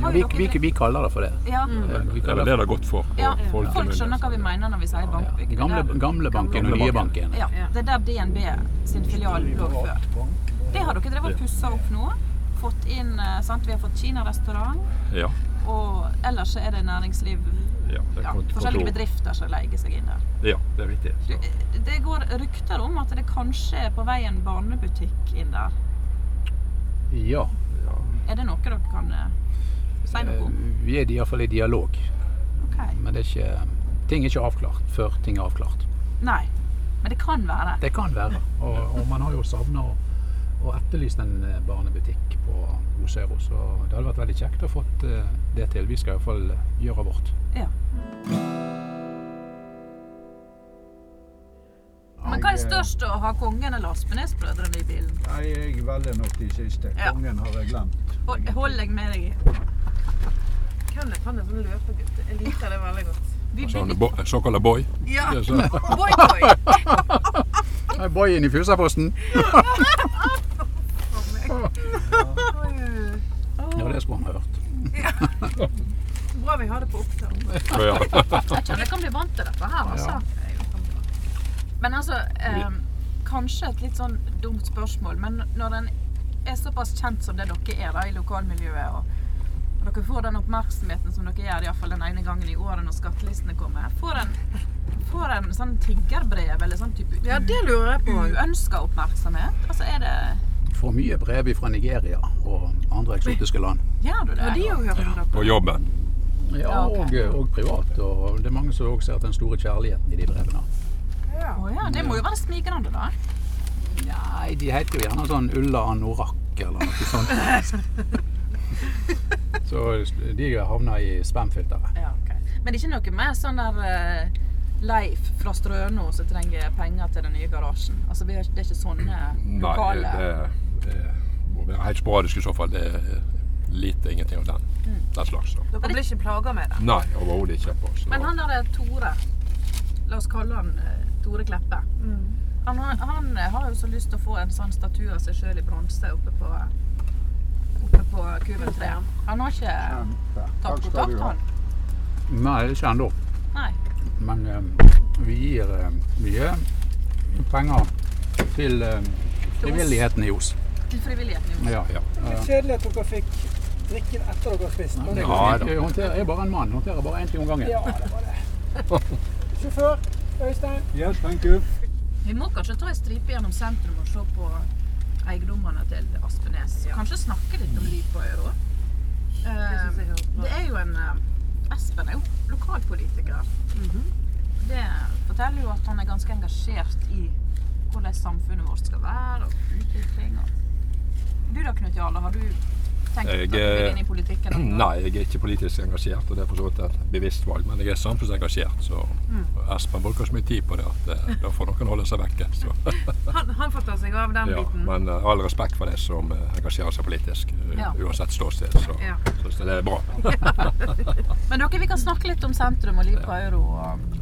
Speaker 5: Ja, vi, vi, vi kaller det for det.
Speaker 2: Ja.
Speaker 5: Vi
Speaker 6: Det er
Speaker 5: kaller
Speaker 6: vel
Speaker 5: det
Speaker 6: det det er godt for. for
Speaker 2: ja.
Speaker 6: i
Speaker 2: Folk
Speaker 6: munnen,
Speaker 2: skjønner hva
Speaker 6: så
Speaker 2: vi
Speaker 6: det-
Speaker 2: mener når vi sier Bankbygget.
Speaker 5: ja,
Speaker 2: Det
Speaker 5: gamle,
Speaker 2: er der-
Speaker 5: gamle banken og nye banken.
Speaker 2: Ja, det er der DNB sin filial lå før. Det har dere drevet og pussa opp nå. Fått inn, eh, sant? Vi har fått Kina-restaurant,
Speaker 6: Ja.
Speaker 2: og ellers så er det næringsliv
Speaker 6: ja, det er
Speaker 2: ja,
Speaker 6: kont-
Speaker 2: Forskjellige
Speaker 6: kontor.
Speaker 2: bedrifter som leier seg inn der.
Speaker 6: Ja, det er riktig. Så.
Speaker 2: Du, eh, Det går rykter om at det kanskje er på vei en barnebutikk inn der.
Speaker 5: Ja.
Speaker 6: Ja.
Speaker 2: Er det noe dere kan eh, si noe om?
Speaker 5: eh, Vi er iallfall i dialog,
Speaker 2: Ok.
Speaker 5: men det er ikke, ting er ikke avklart før ting er avklart.
Speaker 2: Nei, men det kan være.
Speaker 5: Det kan være. Og, og man har jo savna og, og etterlyst en eh, barnebutikk på Osøro, så det hadde vært veldig kjekt å fått eh, det til. Vi skal iallfall eh, gjøre vårt.
Speaker 2: Men hva er
Speaker 4: eh,
Speaker 2: størst, å ha kongen eller Aspenes-brødrene i bilen?
Speaker 4: Nei, jeg velger nok de siste.
Speaker 2: Ja.
Speaker 4: Kongen har jeg glemt.
Speaker 2: Hold, hold deg med deg i.
Speaker 3: Hvem er han er sånn løpegutt? Jeg liker det veldig godt.
Speaker 2: Vi
Speaker 6: Og så
Speaker 2: blir
Speaker 6: har du
Speaker 2: litt
Speaker 6: bo- Såkalla boy.
Speaker 3: Ja,
Speaker 6: Det er så-
Speaker 3: boy boy!
Speaker 5: Boyen i Fusaposten! Ja, det skulle han ha hørt.
Speaker 3: Bra vi har det på opptak.
Speaker 6: så ja.
Speaker 2: Jeg tror jeg kan bli vant til dette her, altså. Men altså, eh, kanskje et litt sånn dumt spørsmål, men når en er såpass kjent som det dere er da, i lokalmiljøet, og og dere får den oppmerksomheten som dere gjør, iallfall den ene gangen i året når skattelistene kommer, får en, får en sånn tiggerbrev eller sånn type
Speaker 3: Ja, det lurer jeg på.
Speaker 2: uønska oppmerksomhet? Altså, er det
Speaker 5: Får mye brev fra Nigeria og andre eksotiske land.
Speaker 2: Gjør du det?
Speaker 3: Har de jo hørt om dere?
Speaker 6: På jobben.
Speaker 5: Ja,
Speaker 2: ok.
Speaker 5: og, eh, og privat. Og det er mange som også ser den store kjærligheten i de brevene.
Speaker 2: Å ja, det må jo være smigrende, da.
Speaker 5: Nei, de heter jo gjerne sånn Ulla Anorakk eller noe sånt. Så de havner i spamfilteret.
Speaker 2: Ja, ok. Men det er ikke noe mer sånn der eh, Leif fra Strøno som trenger penger til den nye garasjen? Altså, vi har, ikke- det er ikke sånne
Speaker 6: Nei,
Speaker 2: lokale
Speaker 6: det, det må være helt sporadisk i så fall. Det er lite ingenting av den,
Speaker 2: Mm.
Speaker 6: den slags. Så.
Speaker 3: Dere blir ikke plaga med det?
Speaker 6: Nei, overhodet ikke. på, så-
Speaker 2: Men han der er Tore. La oss kalle han eh, Tore Kleppe. Han, har- han eh, har jo så lyst til å få en sånn statue av seg sjøl i bronse oppe på Oppe på Kuvetreet. Han har ikke tatt kontakt, han.
Speaker 5: Nei, det er ikke ennå.
Speaker 2: Nei.
Speaker 5: Men eh, vi gir eh, mye penger til eh, frivilligheten i Os.
Speaker 2: Til frivilligheten. jo.
Speaker 5: Ja, ja. Eh,
Speaker 7: Kjedelig at dere fikk drikken etter dere har spist. men det går
Speaker 6: Ja,
Speaker 5: jeg, jeg, håndterer, jeg er bare en mann. Håndterer bare én ting om gangen.
Speaker 7: fint. Ja, det var det. Sjåfør Øystein.
Speaker 4: Yes, thank you.
Speaker 2: Vi må kanskje ta en stripe gjennom sentrum og se på eiendommene til Aspenes. Kanskje snakke litt om liv på Øyro. Eh,
Speaker 3: synes jeg høres bra.
Speaker 2: Det er jo en eh, Espen er jo lokalpolitiker.
Speaker 3: Mhm.
Speaker 2: Det forteller jo at han er ganske engasjert i hvordan samfunnet vårt skal være og utvikling. Og... Du da, Knut Jarle, har du tenkt
Speaker 6: Jeg,
Speaker 2: å bli
Speaker 6: eh,
Speaker 2: inn i politikken? noen gang?
Speaker 6: Nei, jeg er ikke politisk engasjert, og det er for så vidt et bevisst valg. Men jeg er samfunnsengasjert, så og Espen bruker så mye tid på det at eh, da får noen holde seg vekke. Så,
Speaker 3: Han, han får ta seg av den
Speaker 6: ja.
Speaker 3: biten.
Speaker 6: Men eh, all respekt for de som eh, engasjerer seg politisk, u-
Speaker 2: Ja.
Speaker 6: uansett ståsted. Så
Speaker 3: Ja.
Speaker 6: synes jeg det er bra.
Speaker 2: Men dere, vi kan snakke litt om sentrum og liv på Euro. og-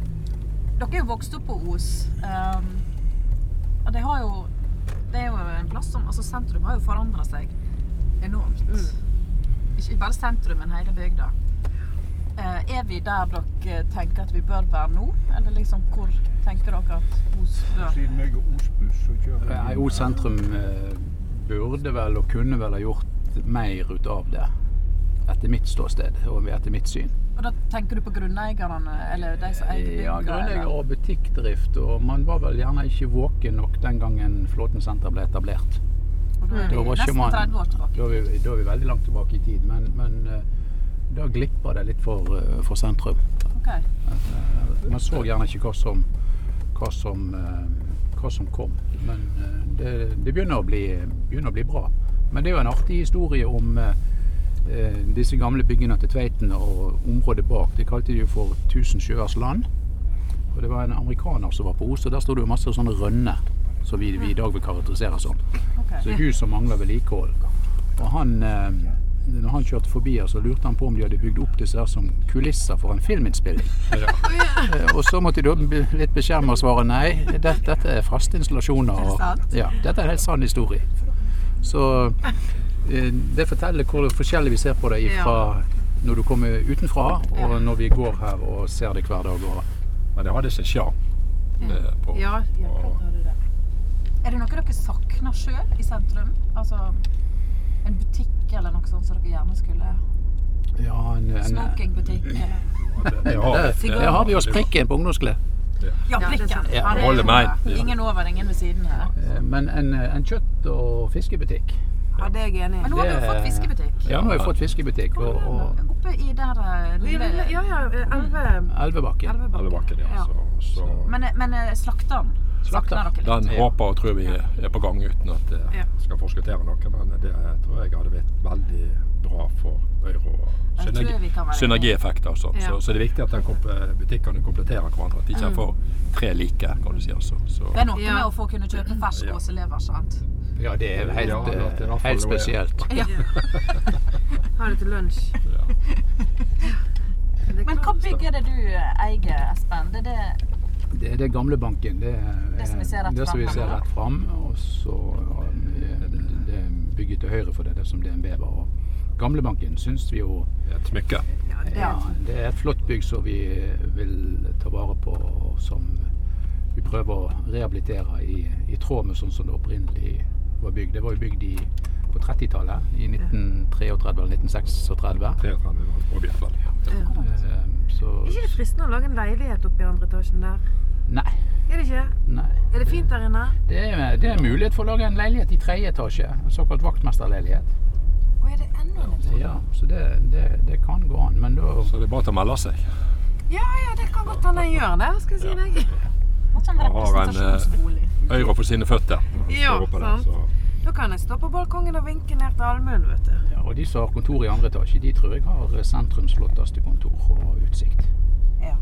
Speaker 2: Dere er jo vokst opp på Os. ehm, og det har jo Det er jo en plass som Altså, sentrum har jo forandra
Speaker 5: Mm.
Speaker 2: seg enormt. Ikke bare sentrum, men hele bygda. Eh, Er vi der dere tenker at vi bør være nå? Eller liksom hvor tenker dere at Os bør
Speaker 7: Siden jeg er Osbuss, så kjører
Speaker 5: Eh,
Speaker 7: jeg
Speaker 5: O sentrum eh, burde vel og kunne vel ha gjort mer ut av det. Etter mitt ståsted og etter mitt syn.
Speaker 2: Og da tenker du på grunneierne, eller de som eier bygda?
Speaker 5: Ja, grunneier
Speaker 2: eller?
Speaker 5: og butikkdrift. Og man var vel gjerne ikke våken nok den gangen Flåten senter ble etablert.
Speaker 2: Og da er
Speaker 5: Da
Speaker 2: vi
Speaker 5: var ikke
Speaker 2: nesten
Speaker 5: man-
Speaker 2: 30 år tilbake.
Speaker 5: Da er vi, da er vi veldig langt tilbake i tid, men, men eh, da glippa det litt for, eh, for sentrum.
Speaker 2: Ok.
Speaker 5: Man så gjerne ikke hva som, hva som, eh, hva som kom. Men eh, det, det begynner, å bli, begynner å bli bra. Men det er jo en artig historie om eh, eh, disse gamle byggene til Tveiten og området bak. Det kalte de jo for Tusen sjøers land. Og det var en amerikaner som var på Os, og der sto det jo masse sånne rønner. Som vi, vi i dag vil karakterisere som.
Speaker 2: ok.
Speaker 5: Så hus som mangler vedlikehold. Og han, eh, når han kjørte forbi her, så lurte han på om de hadde bygd opp disse her som kulisser for en filminnspilling. Eh, Og så måtte de da be- litt beskjerme og svare nei, det, dette er faste installasjoner.
Speaker 2: Er det
Speaker 5: og-
Speaker 2: sant?
Speaker 5: Ja, dette er en helt sann historie. Så eh, det forteller hvor forskjellig vi ser på det ifra når du kommer utenfra, og når vi går her og ser det hver dag. Og
Speaker 6: Men det hadde sin sjarm. eh, på-
Speaker 3: Ja,
Speaker 2: Ja, klart har du det. Er det noe dere savner sjøl i sentrum? Altså en butikk eller noe sånt som dere gjerne skulle
Speaker 5: ja, en, en,
Speaker 2: Smokingbutikk eller
Speaker 6: Det
Speaker 5: der, der har vi oss prikken på ungdomsklær.
Speaker 2: Ja,
Speaker 3: Ja, det er
Speaker 2: prikken!
Speaker 3: sant.
Speaker 5: Ja.
Speaker 2: Han er
Speaker 6: Holder meg.
Speaker 2: over.
Speaker 6: Ja.
Speaker 2: Ingen over, ingen ved siden her.
Speaker 5: Eh, Men en, en kjøtt- og fiskebutikk.
Speaker 3: ja, det er jeg enig i.
Speaker 2: Men nå har vi jo
Speaker 5: Det-
Speaker 2: fått fiskebutikk.
Speaker 5: Ja, nå har vi fått fiskebutikk. Og, og
Speaker 2: Oppe i der eh,
Speaker 3: Vi
Speaker 2: lille
Speaker 3: vil- Ja, Mm. ja, eh, Elve...
Speaker 5: Elvebakken.
Speaker 6: Alle bakken, ja. Så, så
Speaker 2: Men, men eh, slakteren savner dere litt?
Speaker 6: den
Speaker 5: Ja.
Speaker 6: håper og tror vi er på gang uten at
Speaker 3: Ja.
Speaker 6: jeg skal forskuttere noe. Men det tror jeg hadde vært veldig bra for Øyre og
Speaker 2: Jeg tror vi kan være enige.
Speaker 6: synergieffekter og sånt.
Speaker 3: Ja. Mm.
Speaker 6: Så, så det er viktig at den komp- butikkene kompletterer hverandre. At de ikke er for tre like, kan du si. altså. Så,
Speaker 2: Det er noe
Speaker 3: Ja.
Speaker 2: med å få kunne kjøpe fersk
Speaker 6: Ja.
Speaker 2: gåselever, sant?
Speaker 5: Ja, det er
Speaker 6: Ja,
Speaker 5: helt,
Speaker 6: det er i hvert
Speaker 5: eh,
Speaker 6: fall
Speaker 5: helt
Speaker 6: noe-
Speaker 5: spesielt.
Speaker 3: Ha det til lunsj.
Speaker 6: ja.
Speaker 3: Det er
Speaker 2: Men hva
Speaker 3: klart.
Speaker 2: bygg er det du eh, eier, Espen? Det er det
Speaker 5: Det er det gamle banken. Det er
Speaker 2: Det som vi ser rett
Speaker 5: det som vi
Speaker 2: frem
Speaker 5: ser
Speaker 2: her, da.
Speaker 5: rett frem, Og så eh, det er bygget til høyre for det, det som DNB var. Og Gamlebanken syns vi jo
Speaker 6: Et smykke.
Speaker 5: ja, Det er et flott bygg som vi eh, vil ta vare på, og som vi prøver å rehabilitere i, i tråd med sånn som det opprinnelig var bygd. Det var jo bygd i, på 30-tallet, i 1933 eller 1936.
Speaker 6: 33 objekt, vel.
Speaker 5: Eh, Så
Speaker 3: Er ikke det fristende å lage en leilighet oppe i andre etasjen der?
Speaker 5: Nei.
Speaker 3: Er det ikke?
Speaker 5: nei.
Speaker 3: Er det fint der inne?
Speaker 5: Det er, det er mulighet for å lage en leilighet i tredje etasje. En såkalt vaktmesterleilighet.
Speaker 2: Å, er det enda en
Speaker 3: Sånn.
Speaker 2: etasje?
Speaker 5: Ja, så det, det, det kan gå an, men da
Speaker 6: Så det er bare til å melde seg.
Speaker 3: Ja, ja, det kan godt hende jeg gjør det, skal jeg si deg.
Speaker 2: Måtte en
Speaker 6: Man har en, eh,
Speaker 2: representasjonsbolig.
Speaker 6: Øyre for sine føtter.
Speaker 3: Ja,
Speaker 6: Står oppå der,
Speaker 3: sant.
Speaker 6: så-
Speaker 3: Da kan jeg stå på balkongen og vinke ned til allmuen, vet du.
Speaker 5: ja, Og de som har kontor i andre etasje, de tror jeg har eh, sentrums flotteste kontor og utsikt.
Speaker 2: Ja.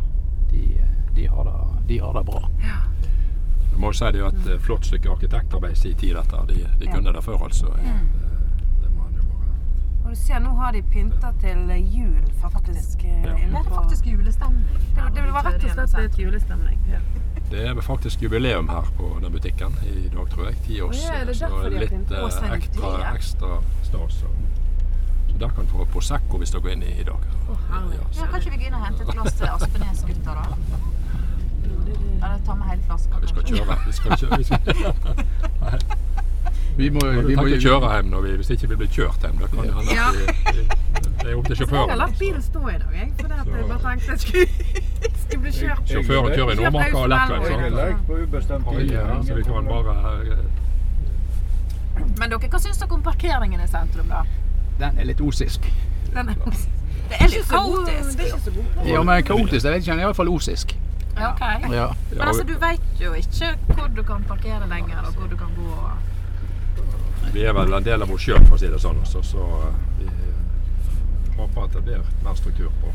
Speaker 5: De, eh, de, har, det, de har det bra.
Speaker 6: Jeg må jo si det er jo et eh, flott stykke arkitektarbeid i sin tid, dette. De, de kunne det før, altså.
Speaker 3: Mm.
Speaker 6: Det- Det må man jo bare
Speaker 3: Og du ser, nå har de pynta til jul, faktisk. eh,
Speaker 6: Ja.
Speaker 2: Det
Speaker 3: inne
Speaker 2: er
Speaker 3: på-
Speaker 2: faktisk julestemning.
Speaker 3: Det, det var rett og slett litt julestemning. Ja.
Speaker 6: Det er vel faktisk jubileum her på den butikken i dag, tror jeg. Ti år.
Speaker 3: Å ja, er det
Speaker 6: så
Speaker 3: derfor de har
Speaker 6: litt
Speaker 3: begynt?
Speaker 6: eh,
Speaker 3: Å, så er det
Speaker 6: ekstra,
Speaker 3: det.
Speaker 6: ekstra stas. og- Så der kan du få Prosecco hvis du går inn i i dag.
Speaker 3: herlig.
Speaker 6: Ja, så-
Speaker 2: Ja, kan ikke vi gå inn og hente et glass til Aspenes-gutta, da? Eller ta med hele flaska?
Speaker 6: Ja, vi skal
Speaker 2: kanskje?
Speaker 6: kjøre. Vi skal kjøre. Vi skal,
Speaker 5: Vi må,
Speaker 6: vi må ikke kjøre hjem når vi, hvis ikke vi blir kjørt hjem. Da kan det hende at vi, det er opp til
Speaker 3: Jeg har
Speaker 6: sjåføren.
Speaker 3: latt bilen stå i dag, jeg. For det at jeg bare tenkte jeg skulle, skulle bli kjørt.
Speaker 6: Sjåføren kjører i Nordmarka og Lettland.
Speaker 7: Jeg er
Speaker 6: sant?
Speaker 7: lei på ubestemt tid.
Speaker 6: Ja, Så vi kan bare eh,
Speaker 2: Men dere, hva syns dere om parkeringen i sentrum, da?
Speaker 5: Den er litt osisk.
Speaker 3: Den er
Speaker 2: Det er litt kaotisk.
Speaker 3: Det er ikke så god plass.
Speaker 5: Ja, men kaotisk, jeg vet ikke, den er iallfall osisk.
Speaker 2: Ja, ok.
Speaker 5: Ja.
Speaker 2: Men altså, du vet jo ikke hvor du kan parkere lenger, og hvor du kan gå. og-
Speaker 6: Vi er vel en del av oss sjøl, for å si det sånn. Også, så eh, vi eh, håper at det blir mer struktur på,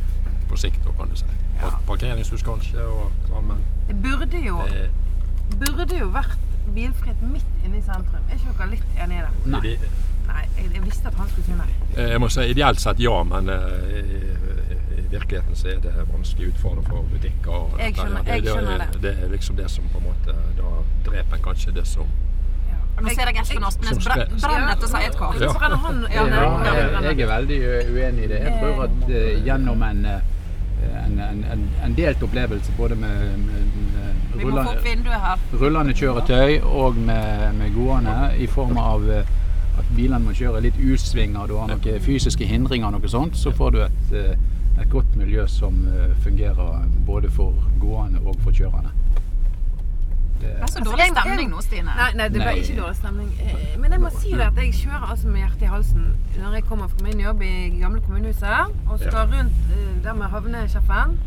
Speaker 6: på sikt, da, kan du si. Og Parkeringshus kanskje, og sånn, men
Speaker 3: Det burde jo,
Speaker 6: det,
Speaker 3: burde jo vært bilfritt midt inne i sentrum. Er ikke dere litt enig i det?
Speaker 5: Nei.
Speaker 6: det-
Speaker 3: Nei, jeg, jeg visste at han skulle si nei.
Speaker 6: eh, Jeg må si ideelt sett ja, men eh, i, i virkeligheten så er det vanskelig utfordring for butikker. og
Speaker 3: Jeg
Speaker 6: dette her.
Speaker 3: skjønner- jeg
Speaker 6: det,
Speaker 3: skjønner
Speaker 6: det,
Speaker 3: det.
Speaker 6: er- det er liksom det som på en måte Da dreper en kanskje det som
Speaker 2: Nå ser jeg Espen Aspenes
Speaker 6: Som
Speaker 2: brenn
Speaker 6: spre-
Speaker 2: brenn etter seg et kart.
Speaker 3: Så brenner han. Ja,
Speaker 5: Ja,
Speaker 3: nei,
Speaker 5: jeg jeg er veldig ø, uenig i det. Jeg tror at eh, gjennom en eh, eh, en, en, en, en delt opplevelse både med, med, med
Speaker 2: Vi må få opp
Speaker 5: rullende,
Speaker 2: vinduet her.
Speaker 5: rullende kjøretøy og med, med gående, i form av eh, at bilene må kjøre litt U-svinger, du har noen fysiske hindringer, noe sånt, så får du et, eh, et godt miljø som eh, fungerer både for gående og for kjørende. Eh, Det,
Speaker 2: Det er så
Speaker 3: Altså,
Speaker 2: dårlig
Speaker 3: jeg- jeg-
Speaker 2: stemning nå, Stine.
Speaker 3: Nei, nei, det ble
Speaker 5: Nei.
Speaker 3: ikke dårlig stemning. Eh, Men jeg må si det at jeg kjører altså med hjertet i halsen når jeg kommer fra min jobb i gamle kommunehuset og skal rundt eh, der med havnesjefen.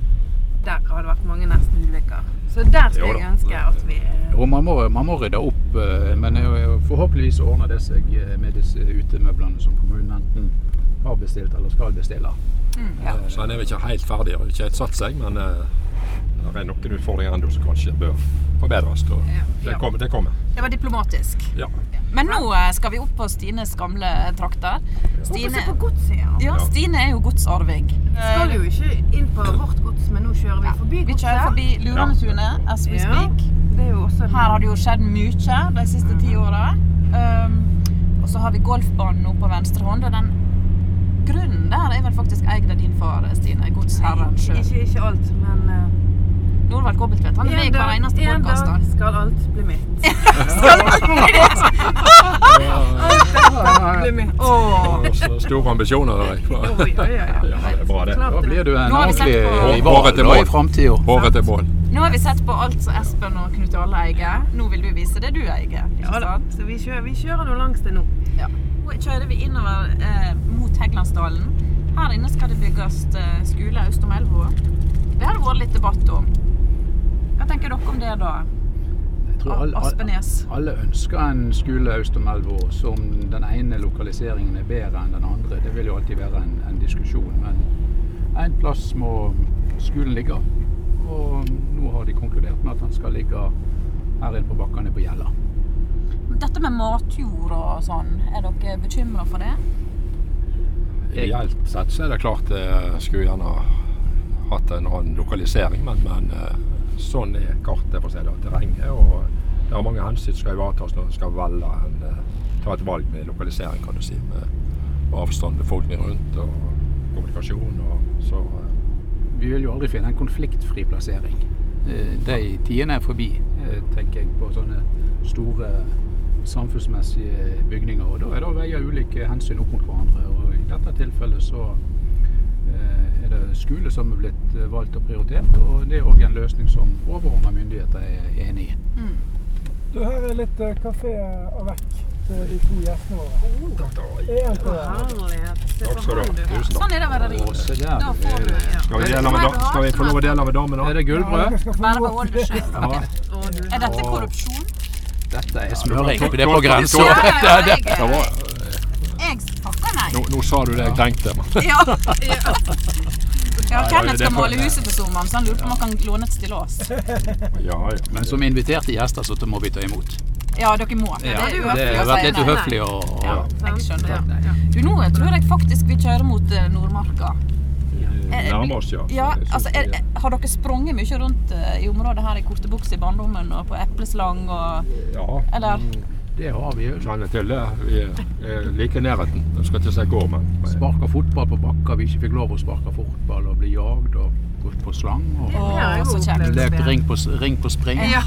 Speaker 3: Der har det vært mange nestenulykker. Så der skulle
Speaker 6: Jo da.
Speaker 3: jeg ønske at vi eh,
Speaker 5: Og man må, man må rydde opp, eh, men eh, forhåpentligvis ordner det seg eh, med disse utemøblene som kommunen enten har bestilt eller skal bestille.
Speaker 3: ja.
Speaker 5: Eh,
Speaker 6: Så han er vel ikke helt ferdig, har ikke helt satt seg, men eh, det er noen utfordringer ennå som kanskje bør forbedres. Og det kommer. Det kommer.
Speaker 2: Det var diplomatisk.
Speaker 6: Ja.
Speaker 2: Men nå eh, skal vi opp på Stines gamle trakter.
Speaker 3: Hvorfor
Speaker 2: Stine,
Speaker 3: se på godset, ja? Eh,
Speaker 2: ja, Stine er jo godsarving.
Speaker 3: Skal jo ikke inn på vårt gods, men nå kjører vi forbi
Speaker 2: Vi
Speaker 3: godset.
Speaker 2: kjører forbi Luranetunet as we
Speaker 3: Ja.
Speaker 2: speak.
Speaker 3: Det er jo også en-
Speaker 2: Her har det jo skjedd mye de siste ti
Speaker 3: Mm.
Speaker 2: åra. Um, og så har vi golfbanen nå på venstre hånd, og den grunnen der er vel faktisk eid av din far, Stine. Godsherren sjøl.
Speaker 3: Ikke, ikke alt, men eh,
Speaker 2: Norvald Kobbeltvedt. Han er med i
Speaker 3: en
Speaker 2: hver
Speaker 3: dag-
Speaker 2: eneste
Speaker 3: en
Speaker 2: podkast.
Speaker 3: dag skal alt bli mitt. Bli mitt.
Speaker 6: Og så Store ambisjoner, hører jeg.
Speaker 3: Oi, oi, oi, oi.
Speaker 6: Ja, det er bra, det.
Speaker 5: Da
Speaker 3: Klart
Speaker 5: blir du en
Speaker 2: Nå har vi sett
Speaker 5: ordentlig
Speaker 2: på-
Speaker 5: rival
Speaker 6: Håret til
Speaker 5: da i
Speaker 6: mål.
Speaker 5: framtida.
Speaker 6: Håret til bål.
Speaker 2: Nå har vi sett på alt som Espen og Knut Jarle eier. Nå vil du vise det du eier.
Speaker 3: Ja
Speaker 2: Ikke
Speaker 3: da.
Speaker 2: sant?
Speaker 3: Så vi kjører, vi kjører nå langs det nå.
Speaker 2: Nå kjører vi innover eh, mot Heglandsdalen. Her inne skal det bygges eh, skole øst om elva. Det har det vært litt debatt om. Hva tenker dere om det, da?
Speaker 5: Jeg tror alle, alle,
Speaker 2: Aspenes.
Speaker 5: alle ønsker en skole øst om elva som den ene lokaliseringen er bedre enn den andre. Det vil jo alltid være en, en diskusjon, men en plass må skolen ligge. Og nå har de konkludert med at den skal ligge her inne på bakkene på Gjella.
Speaker 2: Dette med matjord og sånn, er dere bekymra for det?
Speaker 6: Ideelt sett så er det klart jeg skulle gjerne hatt en annen lokalisering, men, men eh, sånn er kartet for å si det, og terrenget. Og det er mange hensyn som skal ivaretas når en skal velge en, eh, ta et valg med lokalisering, kan du si. Med avstand befolkningen rundt og kommunikasjon. Og så, eh,
Speaker 5: Vi vil jo aldri finne en konfliktfri plassering. Eh, De tidene er forbi, eh, tenker jeg, på sånne store samfunnsmessige bygninger. Og da er det å veie ulike hensyn opp mot hverandre. Og i dette tilfellet så eh, er det skole som er blitt eh, valgt og prioritert, og det er òg en løsning som overordna myndigheter er enig i.
Speaker 7: Du, her er litt eh, kafé og vekk til de to gjestene våre. En til hver.
Speaker 3: Herlighet. Se
Speaker 6: Takk
Speaker 3: på
Speaker 6: skal du
Speaker 3: han,
Speaker 6: ha.
Speaker 3: du.
Speaker 6: Tusen takk.
Speaker 2: Sånn er det å være
Speaker 5: Og
Speaker 2: rik.
Speaker 5: se der.
Speaker 2: Da får du
Speaker 6: Skal vi, dele med, da- skal vi få lov å dele med damen,
Speaker 5: Er
Speaker 6: da?
Speaker 5: det gullbrød?
Speaker 7: Dere skal få
Speaker 2: bare
Speaker 7: lov
Speaker 2: beholde
Speaker 7: til
Speaker 2: det
Speaker 7: det.
Speaker 2: sjøl.
Speaker 5: Ja,
Speaker 3: Å, du.
Speaker 2: Er dette korrupsjon?
Speaker 5: dette er smøring.
Speaker 6: Ja,
Speaker 5: Det er på grensa.
Speaker 2: Ja, ja, ja,
Speaker 6: Det var,
Speaker 2: jeg, jeg takker nei.
Speaker 6: nå, nå sa du det jeg tenkte, men
Speaker 2: Ja. ja,
Speaker 6: Nei,
Speaker 2: Kenneth
Speaker 6: det
Speaker 2: skal
Speaker 6: får-
Speaker 2: måle huset til sommeren, så han lurer på om han kan låne et stillas.
Speaker 6: ja, ja.
Speaker 5: Men som inviterte gjester, så må vi ta imot.
Speaker 2: Ja, dere må.
Speaker 5: Ja,
Speaker 2: det er uhøflig å
Speaker 5: det har
Speaker 2: si
Speaker 5: vært litt
Speaker 2: nei.
Speaker 5: uhøflig å å-
Speaker 2: Ja, jeg skjønner.
Speaker 3: Ja.
Speaker 2: Du, nå tror jeg faktisk vi kjører mot eh, Nordmarka. Eh,
Speaker 6: Nærmer oss, ja.
Speaker 2: Ja,
Speaker 6: Jeg synes
Speaker 2: altså, er,
Speaker 6: det-
Speaker 2: er- har dere sprunget mye rundt eh, i området her i kortebukse i barndommen og på epleslang og
Speaker 6: ja.
Speaker 2: Eller?
Speaker 5: Det har vi jo.
Speaker 6: kjenner til det. Vi er like i nærheten. Jeg skal ikke si går, men
Speaker 5: Sparka fotball på bakker vi ikke fikk lov å sparke fotball, og bli jagd og gått på slang. og
Speaker 3: Det har jeg
Speaker 2: Å, så
Speaker 3: jo
Speaker 2: kjekt.
Speaker 3: opplevd
Speaker 5: Lekt
Speaker 3: før.
Speaker 5: ring på, s- ring på spring.
Speaker 3: Ja.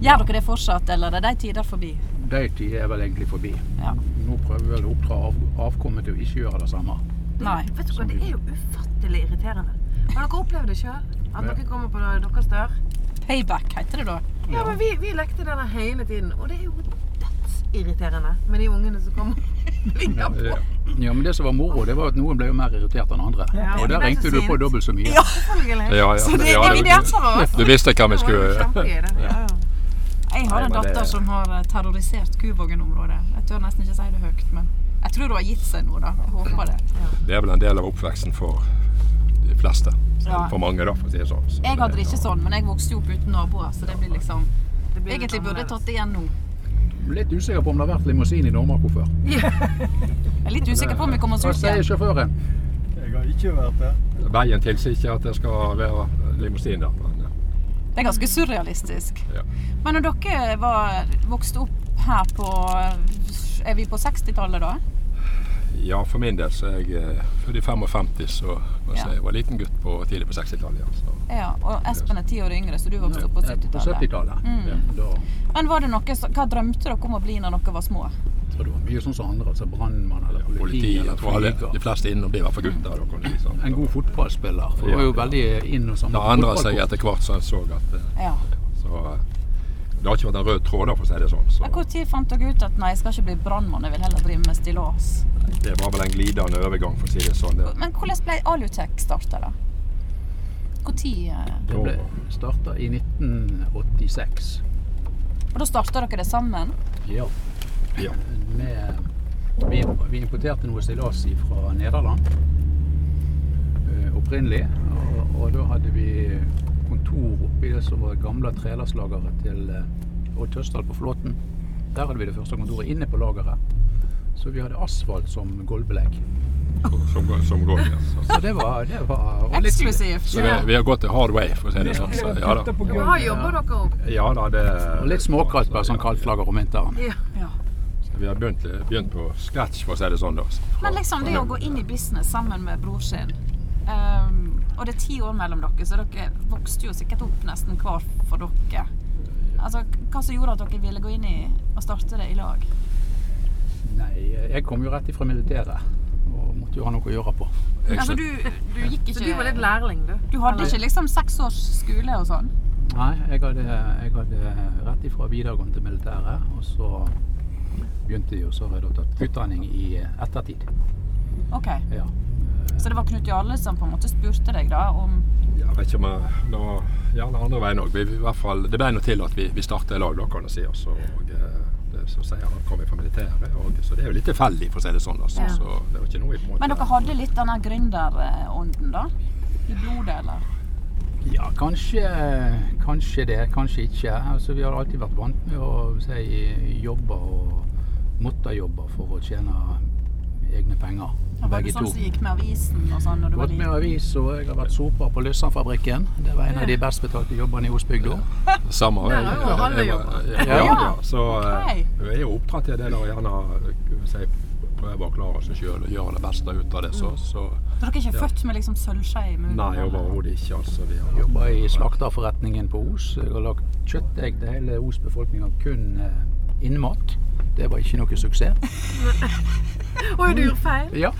Speaker 2: Gjør dere det fortsatt, eller er de tider forbi?
Speaker 5: De tider er vel egentlig forbi.
Speaker 2: Ja.
Speaker 5: Nå prøver vi vel å oppdra av, avkommet til å ikke gjøre det samme.
Speaker 2: Nei.
Speaker 3: Vet du hva, det er jo ufattelig irriterende. Har dere opplevd det sjøl? At
Speaker 5: Ja.
Speaker 3: dere kommer på deres dør?
Speaker 2: Payback heter det da.
Speaker 3: Ja, men vi, vi lekte det der hele tiden, og det er jo dødsirriterende med de ungene som kommer.
Speaker 6: ja, ja.
Speaker 5: eh, Ja, men det som var moro, det var at noen ble jo mer irritert enn andre.
Speaker 3: Ja,
Speaker 5: og
Speaker 3: det
Speaker 5: der
Speaker 3: ble
Speaker 5: ringte
Speaker 3: så
Speaker 5: du på
Speaker 3: sint.
Speaker 5: dobbelt så mye.
Speaker 3: Selvfølgelig.
Speaker 6: ja, ja.
Speaker 2: Så det
Speaker 6: Ja,
Speaker 2: er vi der, sa vi.
Speaker 6: Du visste hva vi
Speaker 3: Det var jo
Speaker 6: skulle
Speaker 3: kjempeidé. Ja, ja.
Speaker 2: Jeg har
Speaker 6: Nei,
Speaker 2: en
Speaker 6: men det-
Speaker 2: datter som har eh, terrorisert Kuvågen-området. Jeg tør nesten ikke si det høyt, men jeg tror hun har gitt seg nå, da. Jeg håper det.
Speaker 6: Det er vel en del av oppveksten for de fleste.
Speaker 2: Ja.
Speaker 6: For mange, da, for å si det sånn. Så
Speaker 2: Jeg hadde
Speaker 6: det-
Speaker 2: det ikke sånn, men jeg vokste jo opp uten naboer, så det blir liksom
Speaker 3: Det blir
Speaker 2: Egentlig
Speaker 3: litt
Speaker 2: burde jeg tatt
Speaker 3: annerledes.
Speaker 2: det igjen nå.
Speaker 5: Litt usikker på om det har vært limousin i Nordmarka før.
Speaker 2: Jeg er litt usikker på om vi kommer oss
Speaker 5: Hva
Speaker 2: ut
Speaker 5: sier
Speaker 2: igjen.
Speaker 5: sjåføren?
Speaker 7: Jeg har ikke vært der.
Speaker 6: Veien tilsier ikke at det skal være limousin der. Men, ja.
Speaker 2: Det er ganske surrealistisk.
Speaker 6: Ja.
Speaker 2: Men når dere var, vokste opp her på Er vi på 60-tallet da?
Speaker 6: Ja, for min del så er jeg eh, født i 55, så kan jeg
Speaker 2: Ja.
Speaker 6: si jeg var liten gutt på, tidlig på 60-tallet. Ja, så.
Speaker 2: Ja, og Espen er ti år yngre, så du vokste opp på
Speaker 5: Eh, På
Speaker 2: 70-tallet.
Speaker 5: 70-tallet.
Speaker 2: Mm.
Speaker 5: Ja, da
Speaker 2: Men var det noe, som- hva drømte dere om å bli når dere var små?
Speaker 5: tror jeg det var mye sånn som andre, altså brannmann eller politi,
Speaker 6: Politi, jeg
Speaker 5: eller
Speaker 6: tror alle,
Speaker 5: flyger.
Speaker 6: de fleste innom det var for gutter. Da, kan du si, sant?
Speaker 5: En god fotballspiller. For det var jo veldig inn og sånn.
Speaker 6: Det endra seg
Speaker 5: fotballkort.
Speaker 6: etter hvert som en så at eh,
Speaker 2: Ja.
Speaker 6: så, eh, Det har ikke vært en rød tråd, da, for å si det sånn. Så
Speaker 2: Men Hvor tid fant dere ut at nei, jeg skal ikke bli brannmann, jeg vil heller drive med stillas?
Speaker 6: det var vel en glidende overgang, for å si det sånn. Det,
Speaker 2: Men hvordan ble Alutek starta, da? Hvor tid? eh?
Speaker 5: Det ble starta i 1986.
Speaker 2: Og da starta dere det sammen?
Speaker 5: Ja.
Speaker 6: Ja.
Speaker 5: Med, vi, vi importerte noe stillas fra Nederland eh, opprinnelig. Og, og da hadde vi kontor oppi det som var gamle trelastslageret til eh, Odd Tøsdal på Flåten. Der hadde vi det første kontoret inne på lageret. Så vi hadde asfalt som gulvbelegg.
Speaker 6: som, går- som går, ja. Så,
Speaker 5: Så det var, det var og litt-
Speaker 2: Eksklusivt.
Speaker 6: så vi, vi har gått the hard way, for å si det sånn. Så, ja da.
Speaker 7: Putter på gulvet.
Speaker 3: Hva jobber dere opp?
Speaker 6: Ja, da det,
Speaker 5: Og litt småkaldt på sånn kaldt flagger om vinteren.
Speaker 6: Vi har begynt, begynt på scratch, for å si det sånn. da. Fra-
Speaker 2: Men liksom det å gå inn i business sammen med bror sin ehm, Og det er ti år mellom dere, så dere vokste jo sikkert opp nesten hver for dere. Altså, Hva som gjorde at dere ville gå inn i og starte det i lag?
Speaker 5: Nei, jeg kom jo rett ifra militæret og måtte jo ha noe å gjøre på.
Speaker 6: Jeg
Speaker 2: Altså,
Speaker 6: skjønner-
Speaker 2: du, du gikk
Speaker 3: Så
Speaker 2: ikke
Speaker 3: altså? du var litt lærling, du?
Speaker 2: Du hadde
Speaker 3: Eller-
Speaker 2: ikke liksom seks års skole og sånn?
Speaker 5: Nei, jeg hadde, jeg hadde rett ifra videregående til militæret, og så begynte jeg, og så har jeg da tatt utdanning i ettertid.
Speaker 2: OK.
Speaker 5: Ja.
Speaker 2: Så det var Knut Jarle som på en måte spurte deg da om
Speaker 6: Ja, Jeg vet ikke om jeg, det var gjerne andre veien òg. Det ble nå til at vi, vi startet i lag, da, kan du si. Også, og eh, det, så sier han at han kom fra militæret, og, så det er jo litt tilfeldig, for å si det sånn. Altså,
Speaker 3: Ja.
Speaker 6: Så det var ikke noe i på en måte.
Speaker 2: Men dere hadde litt denne gründerånden, da? I blodet, eller?
Speaker 5: ja, kanskje, kanskje det, kanskje ikke. Altså, vi har alltid vært vant med å si, jobbe og måtte jobbe for å tjene egne penger,
Speaker 2: Var du
Speaker 5: begge
Speaker 2: sånn
Speaker 5: to.
Speaker 2: som gikk med avisen og sånn når du var
Speaker 5: Gått med
Speaker 2: liten?
Speaker 5: avis, og jeg har vært soper på Lyssandfabrikken. Det var en av de best betalte jobbene i Osbygda.
Speaker 6: Samme
Speaker 3: Der har jo alle
Speaker 6: jobba.
Speaker 3: jobbet.
Speaker 6: Ja, ja, ja. Så
Speaker 2: Ok.
Speaker 6: eh, vi er jo opptatt til det der å gjerne eh, si, prøve å klare seg sjøl og gjøre det beste ut av det. Så, så
Speaker 2: Så dere er ikke
Speaker 6: Ja.
Speaker 2: født med liksom sølvskje i munnen?
Speaker 6: nei, overhodet ikke. Altså, vi har
Speaker 5: Jobber i slakterforretningen på Os. Jeg har lagt kjøttegg til hele Os-befolkninga kun eh, innmat. Det var ikke noe suksess.
Speaker 3: Oi, du gjorde feil.
Speaker 5: Ja.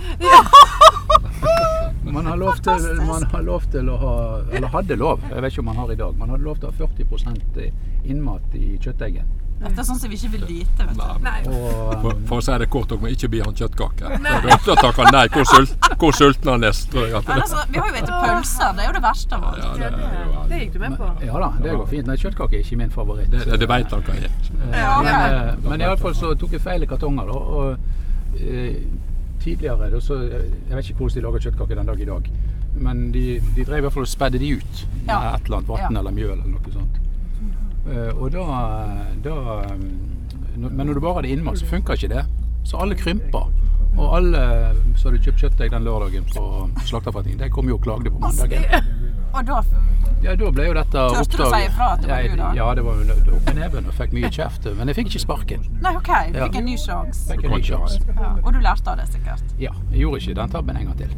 Speaker 5: Man har, lov til, man har lov til å ha Eller hadde lov, jeg vet ikke om man har i dag. Man hadde lov til å ha 40 innmat i kjøtteggen.
Speaker 2: Dette er sånn som vi ikke vil vite, vet du.
Speaker 6: Nei,
Speaker 5: Og
Speaker 6: For, for å si det kort, dere må ikke by han kjøttkake. For Da da takker han nei. Hvor, sult, hvor sulten han er, tror jeg. At
Speaker 2: Men altså, vi har jo spist pølser, det er jo det verste av alt.
Speaker 6: Ja, det, er jo-
Speaker 3: Det gikk du med på.
Speaker 5: eh, ja da, det går fint. Nei, kjøttkake er ikke min favoritt.
Speaker 6: det, det vet han hva er.
Speaker 2: Ja, ok.
Speaker 5: Men, eh, men iallfall så tok jeg feil i kartonger, da. Og eh, tidligere da, så eh, Jeg vet ikke hvordan de lager kjøttkaker den dag i dag. Men de, de drev i hvert fall og spedde de ut med
Speaker 2: Ja.
Speaker 5: et eller annet vann
Speaker 2: Ja.
Speaker 5: eller mjøl eller noe sånt. Eh, og da, da mm, når- Men når du bare hadde innmat, så funker ikke det. Så alle krymper. Og alle som hadde kjøpt kjøttdeig den lørdagen på slakterforretningen, de kom jo og klagde på
Speaker 2: Altså,
Speaker 5: mandagen.
Speaker 2: Og da
Speaker 5: Ja, da ble jo dette
Speaker 2: Tørte du å si ifra at det var
Speaker 5: Nei,
Speaker 2: du, da?
Speaker 5: Ja, det var jo nødt til opp i neven og fikk mye kjeft. Men jeg fikk ikke sparken.
Speaker 2: Nei, OK, du fikk en ny sjanse.
Speaker 5: Fikk en ny sjanse.
Speaker 2: Ja. Og du lærte av det, sikkert.
Speaker 5: Ja, jeg gjorde ikke den tabben en gang til.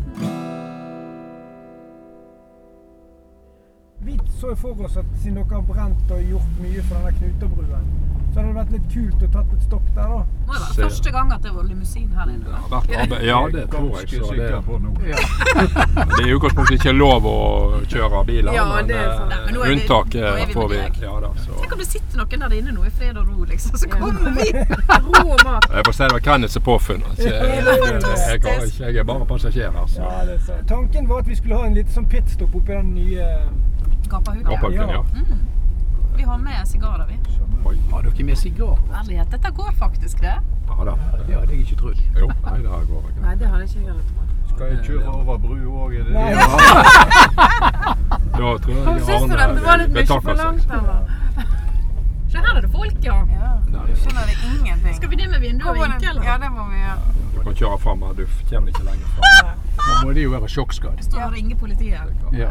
Speaker 7: Vi så jo for oss at siden dere har brent og gjort mye for denne Knutabruen, så hadde det vært litt kult å tatt et stopp der, da.
Speaker 2: Må jo
Speaker 6: Se.
Speaker 2: være første gang at det var limousin her
Speaker 6: Det
Speaker 2: inne.
Speaker 6: har vært arbeid. Ja, det tror jeg. Så det,
Speaker 4: sikker på nå.
Speaker 6: det er i utgangspunktet ikke lov å kjøre biler,
Speaker 3: Ja,
Speaker 6: men
Speaker 3: det er sant.
Speaker 6: eh,
Speaker 2: Nei, men nå er vi-
Speaker 6: unntak
Speaker 2: nå
Speaker 6: eh,
Speaker 2: er vi
Speaker 6: får vi.
Speaker 2: med deg.
Speaker 6: Ja, da, så.
Speaker 2: Tenk om det sitter noen der inne nå i fred og ro, liksom, så kommer vi!
Speaker 3: Ro og mat.
Speaker 6: Jeg får si det var Kenneth som påfunn. altså. Jeg, jeg, jeg, har ikke- jeg er bare passasjer her. altså. Så.
Speaker 7: Ja, det er sant. Tanken var at vi skulle ha en liten sånn pitstop oppi den nye
Speaker 2: Gapahuda.
Speaker 6: Opphaug, ja.
Speaker 2: Vi har med sigarer, vi.
Speaker 5: Har dere med sigar?
Speaker 2: Ærlighet, dette går faktisk, det.
Speaker 6: ja da.
Speaker 5: Det hadde jeg ikke trodd.
Speaker 6: Jo, nei, det her går ikke.
Speaker 3: Nei, det hadde ikke jeg heller trodd.
Speaker 4: Skal jeg kjøre over brua òg, er det det?
Speaker 6: Da tror jeg eh,
Speaker 3: Syns du dette var litt mye
Speaker 6: altså.
Speaker 3: for langt, eller?
Speaker 8: Se her er det folk, ja.
Speaker 2: Sånn
Speaker 3: Skjønner det ingenting.
Speaker 8: Skal vi ned med vinduet og vinke, eller?
Speaker 3: Ja, det må vi gjøre.
Speaker 6: Du kan kjøre fram, men du kommer ikke lenger fram.
Speaker 5: Nå må de jo være sjokkskadd.
Speaker 2: Står og ringer politiet.
Speaker 5: Ja.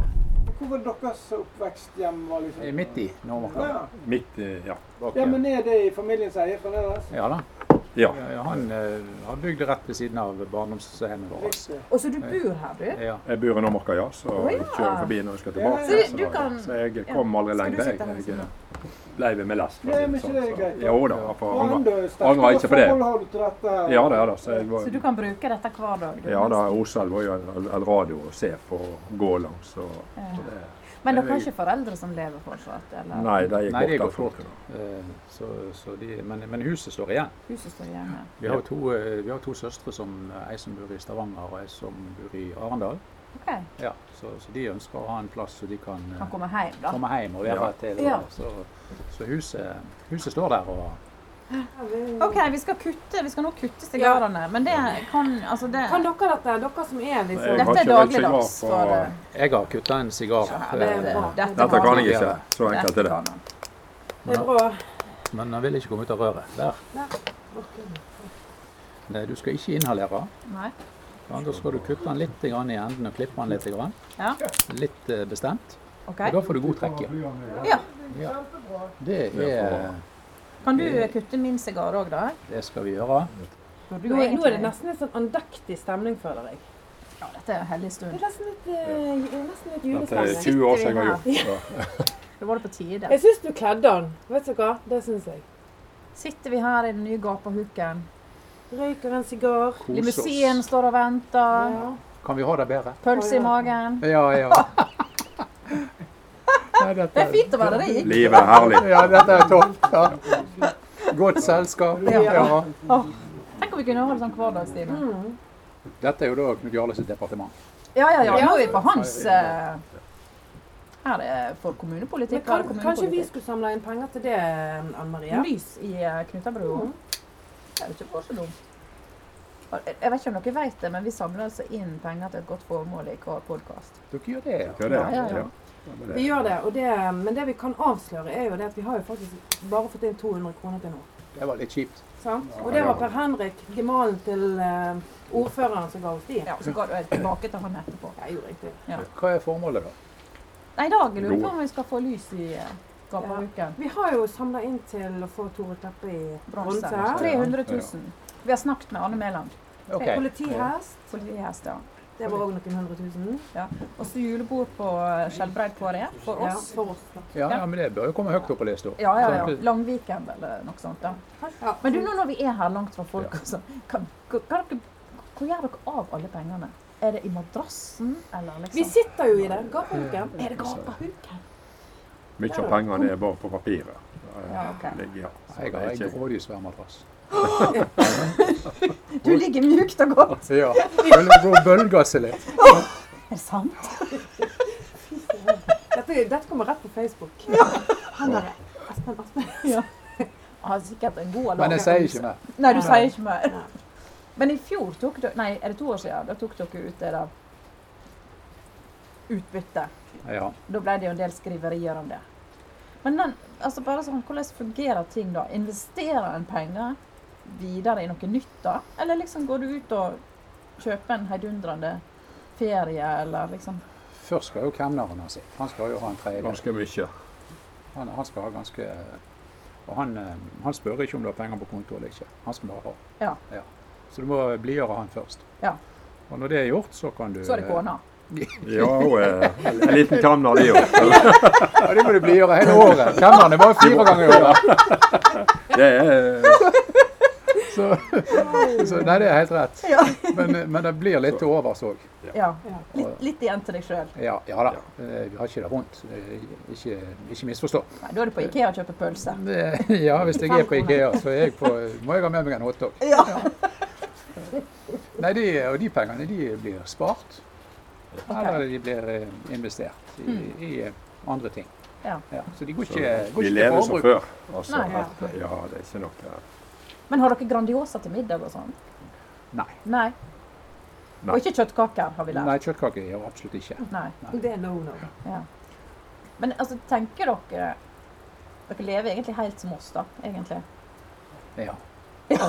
Speaker 7: Hvor var deres oppveksthjem? var liksom?
Speaker 5: Midt i Nordmarka.
Speaker 7: Ja.
Speaker 6: Midt, eh, ja. bak
Speaker 7: ja,
Speaker 6: her.
Speaker 7: men er det i familiens eie fremdeles?
Speaker 5: Ja da.
Speaker 6: Ja.
Speaker 5: Han eh, har bygd rett ved siden av barndomshjemmet vårt.
Speaker 2: Og så du bor her, du?
Speaker 5: Ja.
Speaker 6: Jeg bor i Nordmarka, ja, så
Speaker 2: Å, ja.
Speaker 6: jeg kjører forbi når jeg skal tilbake.
Speaker 2: Så du kan-
Speaker 6: så jeg kom aldri
Speaker 2: Skal du
Speaker 6: lenger.
Speaker 2: sitte her
Speaker 6: Jeg,
Speaker 2: sånn, da?
Speaker 6: jeg ble ved med lest. for å
Speaker 7: Nei,
Speaker 6: si det
Speaker 7: men ikke det er
Speaker 6: sånn,
Speaker 7: greit,
Speaker 6: så-
Speaker 7: da.
Speaker 6: Jo da, jeg får
Speaker 7: Og
Speaker 6: angre.
Speaker 7: enda
Speaker 6: angrer ikke på det.
Speaker 7: forhold har du til dette. her.
Speaker 6: Ja, det er det. Så jeg
Speaker 2: Så
Speaker 6: var,
Speaker 2: du kan bruke dette hver dag? du,
Speaker 6: ja, da,
Speaker 2: nesten.
Speaker 6: Osel var jo en en radio å se på og gå langs. Og, så det,
Speaker 2: Men dere har ikke foreldre som lever fortsatt? Eller
Speaker 6: nei, de gikk
Speaker 5: Nei, det
Speaker 6: bort
Speaker 5: går
Speaker 6: derfra.
Speaker 5: fort. Eh, Så, så de, men, men huset står igjen.
Speaker 2: huset står igjen? ja.
Speaker 5: Vi har jo to, eh, vi har to søstre, som, eh, ei som bor i Stavanger og ei som bor i Arendal.
Speaker 2: Ok,
Speaker 5: Ja, så, så de ønsker å ha en plass så de kan, eh,
Speaker 2: Kan komme hjem, da.
Speaker 5: komme hjem og være
Speaker 6: Ja.
Speaker 5: her til.
Speaker 2: Ja.
Speaker 5: Så, så huset, huset står der. og...
Speaker 2: OK, vi skal kutte. Vi skal nå kutte sigarene. Men det kan Altså, det
Speaker 3: Kan dere dette, dere som er
Speaker 6: Jeg
Speaker 3: liksom
Speaker 6: har
Speaker 2: Dette er
Speaker 6: ikke vært sigar
Speaker 2: dagligdags
Speaker 6: på-
Speaker 2: for eh,
Speaker 5: Jeg har kutta en sigar,
Speaker 3: det
Speaker 5: eh,
Speaker 3: er bra.
Speaker 2: Dette
Speaker 6: Dette
Speaker 2: kan
Speaker 6: kan jeg ikke.
Speaker 5: han.
Speaker 6: Så enkelt er det.
Speaker 2: kan han.
Speaker 3: Det er bra.
Speaker 5: men den vil ikke komme ut av røret. Der. Nei, du skal ikke inhalere.
Speaker 2: Nei.
Speaker 5: Ja, da skal du kutte den litt grann i enden og klippe den litt. Grann.
Speaker 2: Ja.
Speaker 5: Litt eh, bestemt.
Speaker 2: OK.
Speaker 5: Og da får du god trekk. i.
Speaker 2: Ja.
Speaker 5: Det, er,
Speaker 2: Kan du eh, kutte min sigar òg, da?
Speaker 5: det skal vi gjøre.
Speaker 2: Burde
Speaker 3: Nå
Speaker 2: jo
Speaker 3: er, nå er det
Speaker 2: egentlig-
Speaker 3: nesten en sånn andaktig stemning, føler jeg.
Speaker 2: Ja, dette er jo en hellig
Speaker 3: Det
Speaker 2: stund.
Speaker 3: er nesten litt, eh, nesten litt
Speaker 6: Dette er
Speaker 3: julestemning.
Speaker 6: 20 år siden jeg har gjort det.
Speaker 2: Da var det på tide.
Speaker 3: Jeg syns du kledde den. Vet du hva? Det syns jeg.
Speaker 2: Sitter vi her i den nye gapahuken.
Speaker 3: Røyker en sigar.
Speaker 5: Kose
Speaker 2: Limousinen
Speaker 5: oss.
Speaker 2: står og venter.
Speaker 3: Ja.
Speaker 5: Kan vi ha det bedre?
Speaker 2: Pølse i magen.
Speaker 5: Ja, ja. Nei, dette,
Speaker 2: Det er fint å være rik.
Speaker 6: Livet er herlig.
Speaker 5: Ja, dette er topp. Ja. Godt selskap. Ja.
Speaker 2: Tenk om vi kunne ha det sånn hverdagstime.
Speaker 5: Dette er jo da Knut Jarle sitt departement.
Speaker 2: Ja, ja, ja. Nå er vi på hans eh, Her er for kommunepolitikk.
Speaker 3: Men
Speaker 2: Her er
Speaker 3: kan, kanskje vi
Speaker 2: kommunepolitikk.
Speaker 3: skulle samle inn penger til det, eh, Anne Marie?
Speaker 2: Lys i eh, Knutabro. Det er jo ikke bare så dumt. Og Jeg jeg vet ikke om dere vet det, men vi samler altså inn penger til et godt formål i hver podkast.
Speaker 5: Dere gjør det, ja.
Speaker 6: Hva er det?
Speaker 2: Ja, ja, ja.
Speaker 6: Ja.
Speaker 3: Vi gjør det, og det, eh, men det vi kan avsløre, er jo det at vi har jo faktisk bare fått inn 200 kroner til nå.
Speaker 5: Det var litt kjipt.
Speaker 3: Sant? Og det var Per Henrik, gemalen til eh, ordføreren, som ga oss de.
Speaker 2: Ja, og så går det tilbake til han etterpå.
Speaker 3: Jeg gjorde riktig.
Speaker 5: Hva er formålet, da?
Speaker 2: Nei, i dag lurer jeg på om vi skal få lys i eh, gapahuken.
Speaker 3: Vi har jo samla inn til å få Tore Kleppe i
Speaker 2: Bronse.
Speaker 3: bronse. her.
Speaker 2: 300 000. Vi har snakket med Arne Mæland.
Speaker 5: Ok.
Speaker 3: Politihest.
Speaker 2: Politihest, ja.
Speaker 3: Det var òg noen hundre tusen.
Speaker 2: Og så julebord på eh, Skjelbreid KrE for
Speaker 3: Ja,
Speaker 2: oss.
Speaker 3: for oss. da.
Speaker 5: Ja, ja, men det bør jo komme høyt opp på lista.
Speaker 2: Ja, ja, ja.
Speaker 5: Sånn,
Speaker 2: Langviken eller noe sånt. da.
Speaker 3: Ja.
Speaker 2: Men du, nå når vi er her langt fra folk, altså, kan, kan, kan dere, hvor gjør dere av alle pengene? Er det i madrassen, eller
Speaker 3: Vi
Speaker 2: liksom?
Speaker 3: sitter jo i det. Gapahuken.
Speaker 2: Er det gapahuken?
Speaker 6: Mye av pengene er bare på papiret.
Speaker 2: Ja, ok.
Speaker 6: Ligger, så
Speaker 5: Jeg
Speaker 6: det er
Speaker 5: har en
Speaker 6: ikke-
Speaker 5: grådig svær madrass.
Speaker 2: Du ligger mjukt og godt.
Speaker 5: Ja. Bøl- Bølgasser litt.
Speaker 2: Er det sant?
Speaker 3: Dette, dette kommer rett på Facebook. Han er Espen Aspen.
Speaker 2: Jeg har sikkert en god
Speaker 5: Men jeg sier ikke mer.
Speaker 2: Nei, du sier ikke mer. Men i fjor tok dere Nei, er det to år siden? Da tok dere ut det der utbyttet.
Speaker 5: Ja.
Speaker 2: Da ble det jo en del skriverier om det. Men den, altså bare sånn, hvordan fungerer ting da? Investerer en penger videre i noe nytt da? Eller liksom går du ut og kjøper en heidundrende ferie, eller liksom
Speaker 5: Først skal jo kemneren ha sitt. Han skal jo ha en tredjedel.
Speaker 6: Ganske mye.
Speaker 5: Han, han skal ha ganske eh, Og han, eh, han spør ikke om du har penger på konto eller ikke. Han skal bare ha.
Speaker 2: Ja.
Speaker 5: Så du må blidgjøre han først.
Speaker 2: Ja.
Speaker 5: Og når det er gjort, så kan du
Speaker 2: Så er det kona.
Speaker 6: Ja, hun er en liten kamner, de òg.
Speaker 5: Ja, det må du blidgjøre hele året. Kemneren er bare fire ganger i året.
Speaker 6: Det er
Speaker 5: Så, så nei, det er helt rett.
Speaker 2: Ja.
Speaker 5: Men, men det blir litt til overs òg.
Speaker 2: Ja. Litt, litt igjen til deg sjøl.
Speaker 5: Ja, ja da. Eh, Vi har ikke det vondt. Eh, Ikke, ikke misforstå.
Speaker 2: Nei, da er du på Ikea og kjøper pølse.
Speaker 5: Det- Ja, hvis jeg er på Ikea, så er jeg på, må jeg ha med meg en hotdog.
Speaker 2: Ja.
Speaker 5: Nei, de, og de pengene de blir spart, eller de blir eh, investert i, i eh, andre ting.
Speaker 2: Mm. Ja.
Speaker 5: så de går ikke, går
Speaker 6: Vi
Speaker 5: ikke
Speaker 6: lever
Speaker 5: til
Speaker 6: som
Speaker 5: forbruk.
Speaker 6: før. Altså,
Speaker 2: Nei.
Speaker 6: at, ja, det er ikke noe
Speaker 2: Men har dere Grandiosa til middag og sånn?
Speaker 5: Nei.
Speaker 2: Nei.
Speaker 6: Nei.
Speaker 2: Og ikke kjøttkaker, har vi lært.
Speaker 5: Nei, kjøttkake gjør absolutt ikke.
Speaker 2: Nei.
Speaker 3: Det er no no.
Speaker 2: Men altså, tenker dere Dere lever egentlig helt som oss, da. Egentlig.
Speaker 5: Ja.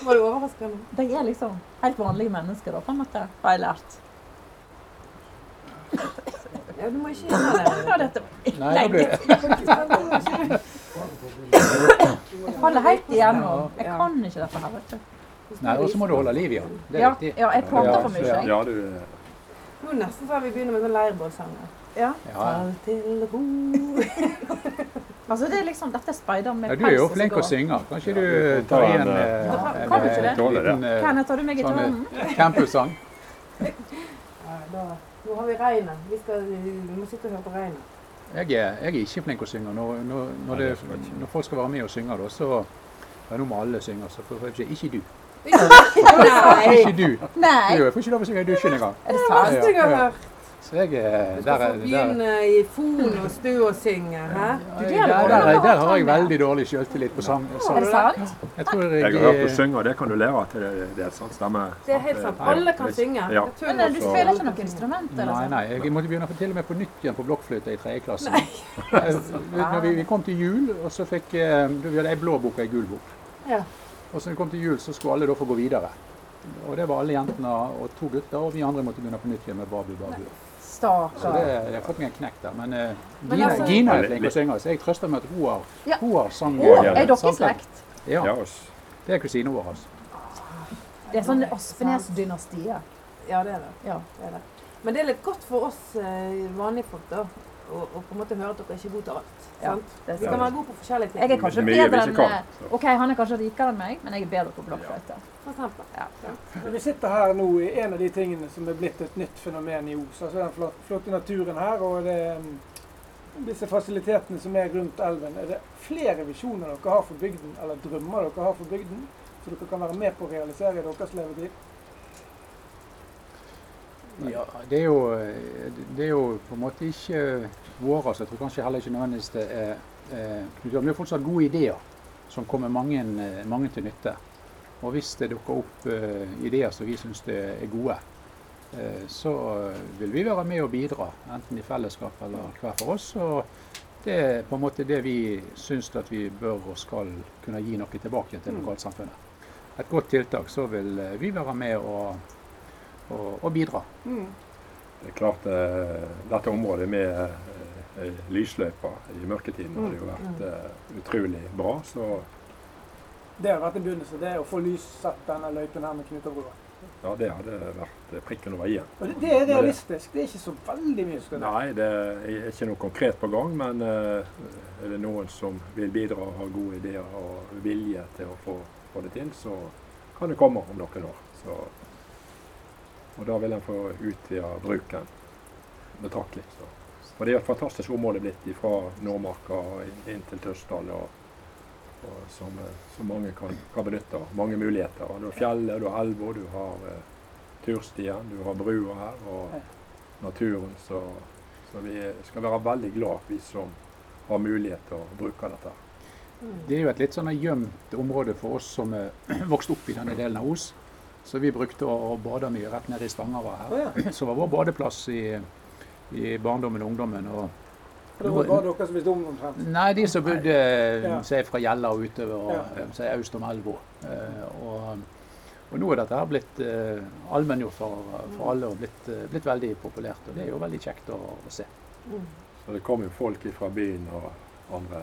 Speaker 3: Var det overraskende?
Speaker 2: De er liksom helt vanlige mennesker, da, på en måte, har jeg lært.
Speaker 3: Ja, du må ikke gjøre det.
Speaker 2: Ja, dette var
Speaker 5: Nei, det blir,
Speaker 2: Jeg holder helt igjen nå. Jeg kan ikke dette her, vet du.
Speaker 5: Nei, og så må du holde liv i den. Det er
Speaker 2: Ja,
Speaker 5: viktig.
Speaker 2: ja, jeg prater for mye.
Speaker 6: Ja, du,
Speaker 3: Nå er det nesten så vi begynner med sånn leirbålsang. Ja.
Speaker 5: Ja.
Speaker 3: Fall til ro.
Speaker 2: Altså, det er liksom, dette er speideren med
Speaker 5: Ja,
Speaker 2: pels.
Speaker 5: du er jo
Speaker 2: og så
Speaker 5: flink
Speaker 2: går-
Speaker 5: å synge. Kanskje du
Speaker 6: Ja, ta
Speaker 5: tar
Speaker 6: en,
Speaker 5: igjen
Speaker 6: eh,
Speaker 5: eh,
Speaker 2: Kan-
Speaker 5: en
Speaker 2: kan du ikke
Speaker 5: eh,
Speaker 2: det?
Speaker 6: Tåler det.
Speaker 5: liten eh,
Speaker 2: Kenneth, tar du meg i
Speaker 5: sånn,
Speaker 2: tålen?
Speaker 5: eh, campussang?
Speaker 3: Ja, da- Nå har vi regnet. Vi, skal, vi må sitte og høre på regnet.
Speaker 5: Jeg er, jeg er ikke flink å synge. Når, når, når,
Speaker 6: det er
Speaker 5: det,
Speaker 6: flott.
Speaker 5: når folk skal være med og synge, da, så ja, Nå må alle synge, så får jeg si ikke du. Ikke du.
Speaker 2: Nei,
Speaker 5: Du, Jeg får ikke lov å synge i dusjen engang.
Speaker 2: er det sant?
Speaker 5: Ja,
Speaker 3: Jeg har
Speaker 5: ja.
Speaker 3: hørt.
Speaker 5: Så jeg eh,
Speaker 3: Du
Speaker 5: der,
Speaker 3: skal
Speaker 5: er-
Speaker 3: få
Speaker 5: der,
Speaker 3: begynne i fon og stu og synge. Hæ?
Speaker 5: der, der, der, der har jeg veldig dårlig selvtillit på sang.
Speaker 2: Er det
Speaker 5: sang.
Speaker 2: sant?
Speaker 5: Jeg tror jeg,
Speaker 6: jeg har hørt
Speaker 5: eh,
Speaker 6: du synge, og det kan du lære at det, det er sant stemme.
Speaker 3: Det er helt sant. Alle kan synge.
Speaker 6: Ja.
Speaker 3: Det er tull.
Speaker 2: Men eh, du spiller ikke noe instrument, eller
Speaker 5: Nei,
Speaker 2: sånn?
Speaker 5: nei. Jeg måtte begynne på, til og med på nytt igjen på blokkfløyte i tredje klasse. Eh, Når vi, vi kom til jul, og så fikk eh, du, Vi hadde ei blå bok og ei gul bok.
Speaker 3: Ja.
Speaker 5: Og så når vi kom til jul, så skulle alle da få gå videre. Og det var alle jentene og to gutter, og vi andre måtte begynne på nytt igjen med Babu Babu. Så det,
Speaker 2: Stakkar.
Speaker 5: jeg har fått meg en knekk der. Men, eh,
Speaker 3: Men
Speaker 5: Gina,
Speaker 3: altså-
Speaker 5: Gina er flink å synge, så jeg trøster med at Roar
Speaker 2: Ja.
Speaker 5: Roar sang
Speaker 2: Å, er
Speaker 5: sang-
Speaker 2: dere i slekt?
Speaker 5: Ja.
Speaker 6: Ja, oss.
Speaker 5: Det er kusina vår. Altså.
Speaker 2: Det er sånn Aspenes-dynastiet.
Speaker 3: Ja, det er det.
Speaker 2: Ja.
Speaker 3: det er det. Men det er litt godt for oss eh, vanlige folk da, å, å på en måte høre at dere ikke er gode til alt.
Speaker 2: Ja,
Speaker 3: Sant?
Speaker 2: det er
Speaker 3: Vi
Speaker 2: sant.
Speaker 3: kan være gode på forskjellige ting.
Speaker 2: Jeg er kanskje
Speaker 6: Mye vi
Speaker 2: bedre enn
Speaker 6: ikke kan,
Speaker 2: eh, OK, han er kanskje rikere enn meg, men jeg er bedre på blokkfløyte.
Speaker 3: For eksempel.
Speaker 7: Men Vi sitter her nå i en av de tingene som er blitt et nytt fenomen i Os. Altså den flot- flotte naturen her og det, mm, disse fasilitetene som er rundt elven. Er det flere visjoner dere har for bygden, eller drømmer dere har for bygden, så dere kan være med på å realisere i deres levetid?
Speaker 5: Ja, det er, jo, eh, det er jo på en måte ikke eh, våre, så jeg tror kanskje heller ikke nødvendigvis det er eh, Knut Jørgen. Det er fortsatt gode ideer som kommer mange, eh, mange til nytte. Og hvis det dukker opp eh, ideer som vi syns er gode, eh, så eh, vil vi være med og bidra. Enten i fellesskap eller hver for oss. Og det er på en måte det vi syns at vi bør og skal kunne gi noe tilbake til lokalsamfunnet. Et godt tiltak, så vil eh, vi være med og, og, og bidra.
Speaker 6: Det er klart eh, dette området med eh, lysløypa i mørketiden har det jo vært eh, utrolig bra. Så
Speaker 7: Det har vært en begynnelse, det er å få lyssatt denne løypen her med Knutabrua.
Speaker 6: ja, det hadde vært prikken over i-en.
Speaker 7: Og det, det er realistisk. Det er ikke så veldig mye som skal til.
Speaker 6: Nei, det er ikke noe konkret på gang, men eh, er det noen som vil bidra og har gode ideer og vilje til å få, få det til, så kan det komme om noen år. Så, og da vil en få utvida bruken betraktelig. Så. Og det er et fantastisk område blitt fra Nordmarka og inn- inn til Tøsdal. Og, og som, eh, som mange kan, kan benytte. av. Mange muligheter. Og Du har fjellet, du har elva, du har eh, turstien, du har brua her og naturen. Så, så vi skal være veldig glad vi som har mulighet til å bruke dette.
Speaker 5: Det er jo et litt sånn gjemt område for oss som er vokst opp i denne delen av Os. Så vi brukte å å bade mye rett nede i Stangerva her.
Speaker 7: Å ja.
Speaker 5: Så var vår badeplass i, i barndommen og ungdommen. Og
Speaker 7: For Det var bare dere som visste om det omtrent.
Speaker 5: nei, de som bodde
Speaker 7: Ja.
Speaker 5: si, fra Gjella og utover, og,
Speaker 7: Ja.
Speaker 5: eh, si, øst om elva. Eh, Og, og nå er dette her blitt eh, allmenngjort for, for alle og blitt, eh, blitt veldig populært. Og det er jo veldig kjekt å, å se.
Speaker 6: Så det kommer jo folk fra byen og andre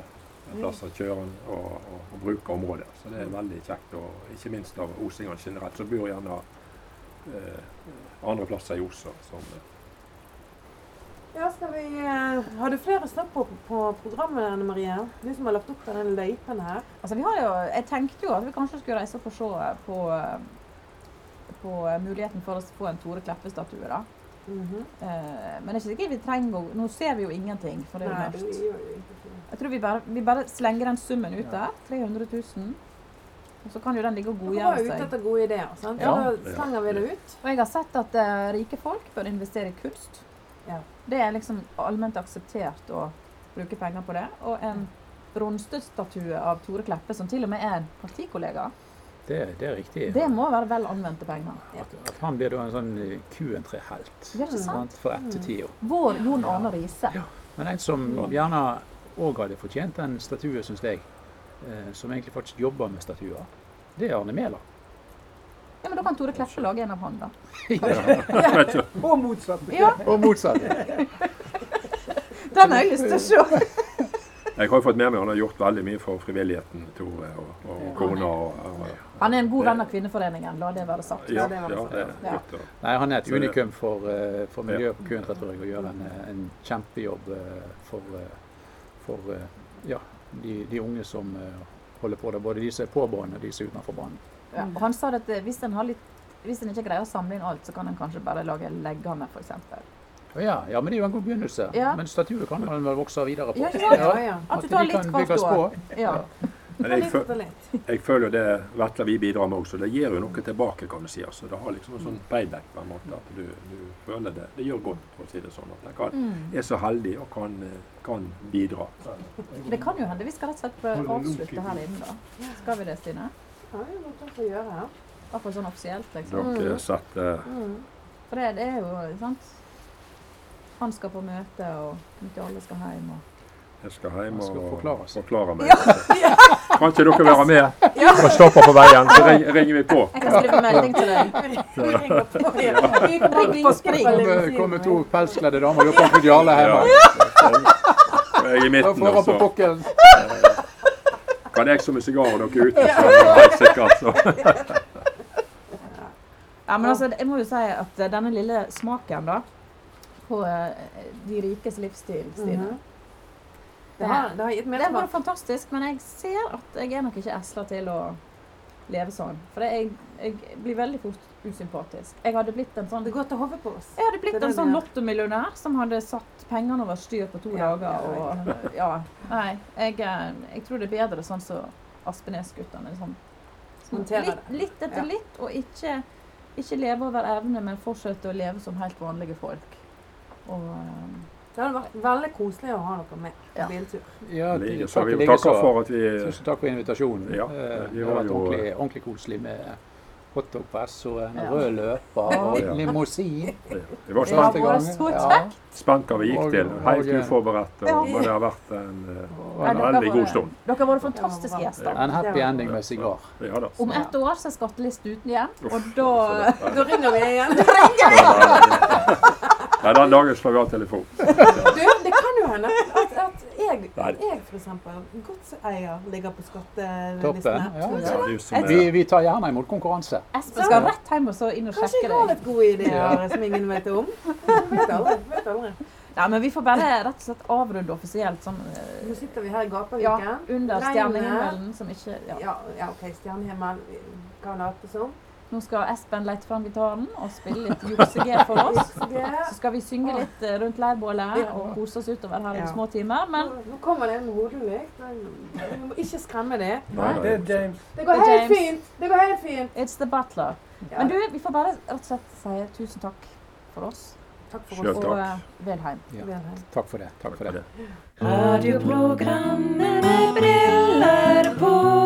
Speaker 6: plasser kjørende og, og, og bruker området. Så det er veldig kjekt. Og ikke minst av osingene generelt, som bor gjerne eh, andre plasser i Os. og Som, eh.
Speaker 3: Ja, skal vi, eh, har du flere snakk på, på programmet, Anne Marie? Du som har lagt opp denne løypen her.
Speaker 2: Altså, vi har jo, jeg tenkte jo at vi kanskje skulle reise opp og se eh, på, eh, på eh, muligheten for å få en Tore Kleppe-statue. da.
Speaker 3: Mhm.
Speaker 2: Eh, Men det er ikke sikkert vi trenger å Nå ser vi jo ingenting, for det er
Speaker 3: Nei,
Speaker 2: jo
Speaker 3: det
Speaker 2: mørkt.
Speaker 3: gjør jo ikke det.
Speaker 2: Jeg tror vi bare, vi bare slenger den summen ut der. 300 000. Og så kan jo den ligge og
Speaker 3: Dere var
Speaker 2: godgjøre
Speaker 3: jo ute
Speaker 2: seg.
Speaker 3: etter gode ideer, sant?
Speaker 2: Ja.
Speaker 3: Og da slenger vi det ut.
Speaker 2: Og jeg har sett at eh, rike folk bør investere i kunst.
Speaker 3: Ja.
Speaker 2: Det er liksom allment akseptert å bruke penger på det. Og
Speaker 3: Mm.
Speaker 2: en bronsestøtstatue av Tore Kleppe, som til og med er en partikollega,
Speaker 5: Det, det er riktig.
Speaker 2: det må være vel anvendte penger.
Speaker 5: At, at han blir da en sånn eh, Q3-helt
Speaker 2: Ja, ikke sant?
Speaker 5: sant, for ettertida.
Speaker 2: Vår Jon Arne Riise.
Speaker 5: Men en som gjerne òg hadde fortjent en statue, syns jeg, eh, som egentlig faktisk jobber med statuer, det er Arne Mæland.
Speaker 2: Ja, men da kan Tore Kleppe lage en av han, da.
Speaker 7: Og motsatt.
Speaker 2: Ja,
Speaker 5: Og motsatt.
Speaker 2: den har jeg lyst til å se.
Speaker 6: Jeg har jo fått med meg han har gjort veldig mye for frivilligheten, Tore og, og kona. Og, og,
Speaker 2: Han er en god venn av Kvinneforeningen, la det være sagt.
Speaker 6: ja, ja, det er godt. å-
Speaker 5: Nei, han er et
Speaker 6: Så det-
Speaker 5: unikum for, eh, for miljø- og kulturretorikk og gjør en, eh, en kjempejobb eh, for, eh, for eh, ja, de, de unge som eh, holder på det. Både de som er på banen og de som er utenfor banen.
Speaker 9: Ja, og han sa det at eh, hvis en, har litt, hvis en ikke greier å samle inn alt, så kan en kanskje bare lage leggene, f.eks.
Speaker 5: Å Ja, ja, men det er jo en god begynnelse.
Speaker 9: Ja.
Speaker 5: Men statuet kan man vel vokse videre på.
Speaker 9: Ja, ikke sant?
Speaker 5: Ja,
Speaker 3: ja.
Speaker 9: At du
Speaker 5: At
Speaker 9: tar
Speaker 5: de
Speaker 9: litt
Speaker 5: kan
Speaker 9: hvert
Speaker 5: bygges
Speaker 9: år.
Speaker 5: på.
Speaker 9: Ja.
Speaker 6: Men jeg, fø- jeg føler jo det Vetle vi bidrar med også, det gir jo noe tilbake, kan du si. Altså, det har liksom en sånn payback på en måte. At du, du føler det. Det gjør godt, for å si det sånn. At jeg kan,
Speaker 9: Mm.
Speaker 6: er så heldig og kan, kan bidra.
Speaker 9: Det kan jo hende vi skal rett og slett prøve å avslutte her inne, da. Skal vi det, Stine? Iallfall sånn offisielt, liksom.
Speaker 6: Dere setter
Speaker 9: For det, det er jo sant Han skal på møte, og Knut Jarle skal hjem, og
Speaker 6: Jeg skal hjem
Speaker 5: Man
Speaker 6: og
Speaker 5: skal forklare seg.
Speaker 6: forklare meg. Kan ikke dere være med og stoppe på veien? Så ring, ringer vi på.
Speaker 9: Jeg kan skrive melding til deg.
Speaker 3: Ring på spring.
Speaker 5: Kommer kommer to pelskledde damer og gjør konfidiale
Speaker 6: Ja.
Speaker 5: hjemme.
Speaker 6: Og Jeg er i
Speaker 5: Da
Speaker 6: midten,
Speaker 5: får han på
Speaker 6: altså.
Speaker 5: pokken.
Speaker 6: Kan jeg som er sigar og dere ute, så er det helt sikkert. Så.
Speaker 9: Ja, men altså, jeg må jo si at eh, denne lille smaken da, på eh, de rikes livsstil, Stine,
Speaker 3: Mhm. Det har, det har gitt
Speaker 9: det var
Speaker 3: mersmak.
Speaker 9: fantastisk. Men jeg ser at jeg er nok ikke esla til å leve sånn. For det- jeg, jeg blir veldig fort usympatisk. Jeg hadde blitt en sånn
Speaker 3: Det går til hodet på oss.
Speaker 9: jeg hadde
Speaker 3: Det
Speaker 9: blitt
Speaker 3: er
Speaker 9: en
Speaker 3: det
Speaker 9: sånn
Speaker 3: vi er.
Speaker 9: lottomillionær som hadde satt pengene over styr på to
Speaker 3: Ja,
Speaker 9: dager.
Speaker 3: ja,
Speaker 9: Og, ja, nei, jeg, eh, jeg tror det er bedre sånn som Aspenes-guttene. Sånn,
Speaker 3: Håndterer
Speaker 9: litt, litt etter
Speaker 3: Ja.
Speaker 9: litt, og ikke, ikke leve over evne, men fortsette å leve som helt vanlige folk. Og, eh,
Speaker 3: Det hadde vært veldig koselig å ha dere med på
Speaker 9: Ja.
Speaker 3: biltur.
Speaker 5: Ja,
Speaker 6: Lige, så
Speaker 5: takk i
Speaker 6: vi
Speaker 5: like
Speaker 6: takker
Speaker 5: så.
Speaker 6: for at vi
Speaker 5: Tusen takk for invitasjonen.
Speaker 6: Ja,
Speaker 5: Eh,
Speaker 6: vi
Speaker 5: det
Speaker 6: var
Speaker 5: har vært
Speaker 6: jo-
Speaker 5: ordentlig, ordentlig koselig med hotdog på S og en
Speaker 9: Ja.
Speaker 5: rød løper
Speaker 6: Ja.
Speaker 5: og limousin.
Speaker 6: Vi var
Speaker 5: første
Speaker 9: Ja.
Speaker 6: spent,
Speaker 9: det var
Speaker 5: gangen.
Speaker 9: så
Speaker 5: Ja.
Speaker 6: spent hva vi gikk til. Helt
Speaker 5: Og- og-
Speaker 6: uforberedt. Og, men det har vært en, eh, en
Speaker 9: dere
Speaker 6: veldig
Speaker 9: var-
Speaker 6: god stund.
Speaker 9: dere har vært fantastiske gjester.
Speaker 5: En happy ending med sigar.
Speaker 6: Ja da.
Speaker 9: Om ett år så er skattelisten uten igjen, og
Speaker 6: Uff,
Speaker 9: da
Speaker 6: så det-
Speaker 3: Da ringer vi igjen.
Speaker 6: Nei, den dagen slår vi av telefonen.
Speaker 3: Du, det kan jo hende at, at jeg,
Speaker 6: Nei.
Speaker 3: jeg f.eks. godseier ligger på skattelistene.
Speaker 5: Toppen. Ja, ja.
Speaker 6: Ja, det er jo som er-
Speaker 5: Vi, vi tar gjerne imot konkurranse.
Speaker 9: Espen skal rett hjem og så inn og
Speaker 3: Kanskje
Speaker 9: sjekke
Speaker 3: jeg har
Speaker 9: deg.
Speaker 3: litt gode ideer som ingen vet om. Vet aldri. Vet aldri.
Speaker 9: Nei, men vi får bare rett og slett avrunde offisielt sånn eh,
Speaker 3: Nå sitter vi her i
Speaker 9: ja,
Speaker 3: gapeviken.
Speaker 9: under
Speaker 3: Regnet.
Speaker 9: stjernehimmelen som ikke ja.
Speaker 3: Ja, ja, OK, stjernehimmel vi kan late som.
Speaker 9: Nå skal Espen lete fram gitaren og spille litt jukseg for oss. Så
Speaker 3: Det-
Speaker 9: skal vi synge litt eh, rundt leirbålet
Speaker 3: Ja.
Speaker 9: og kose oss utover her i
Speaker 3: Ja.
Speaker 9: små timer. Men
Speaker 3: Nå- Nå kommer det en hodelykt. men Vi må ikke skremme det.
Speaker 6: Nei,
Speaker 7: Det
Speaker 6: nei.
Speaker 7: er James.
Speaker 3: Det går
Speaker 9: Det er
Speaker 3: helt
Speaker 9: James.
Speaker 3: fint! Det går helt fint!
Speaker 9: it's the butler.
Speaker 3: Ja.
Speaker 9: Men du, vi får bare rett og slett si tusen takk for oss.
Speaker 3: Takk for
Speaker 6: Sjøl
Speaker 9: Og
Speaker 6: takk.
Speaker 9: eh, vel heim.
Speaker 3: oss.
Speaker 5: Takk for det. Takk for det.
Speaker 1: Radioprogrammet med briller på.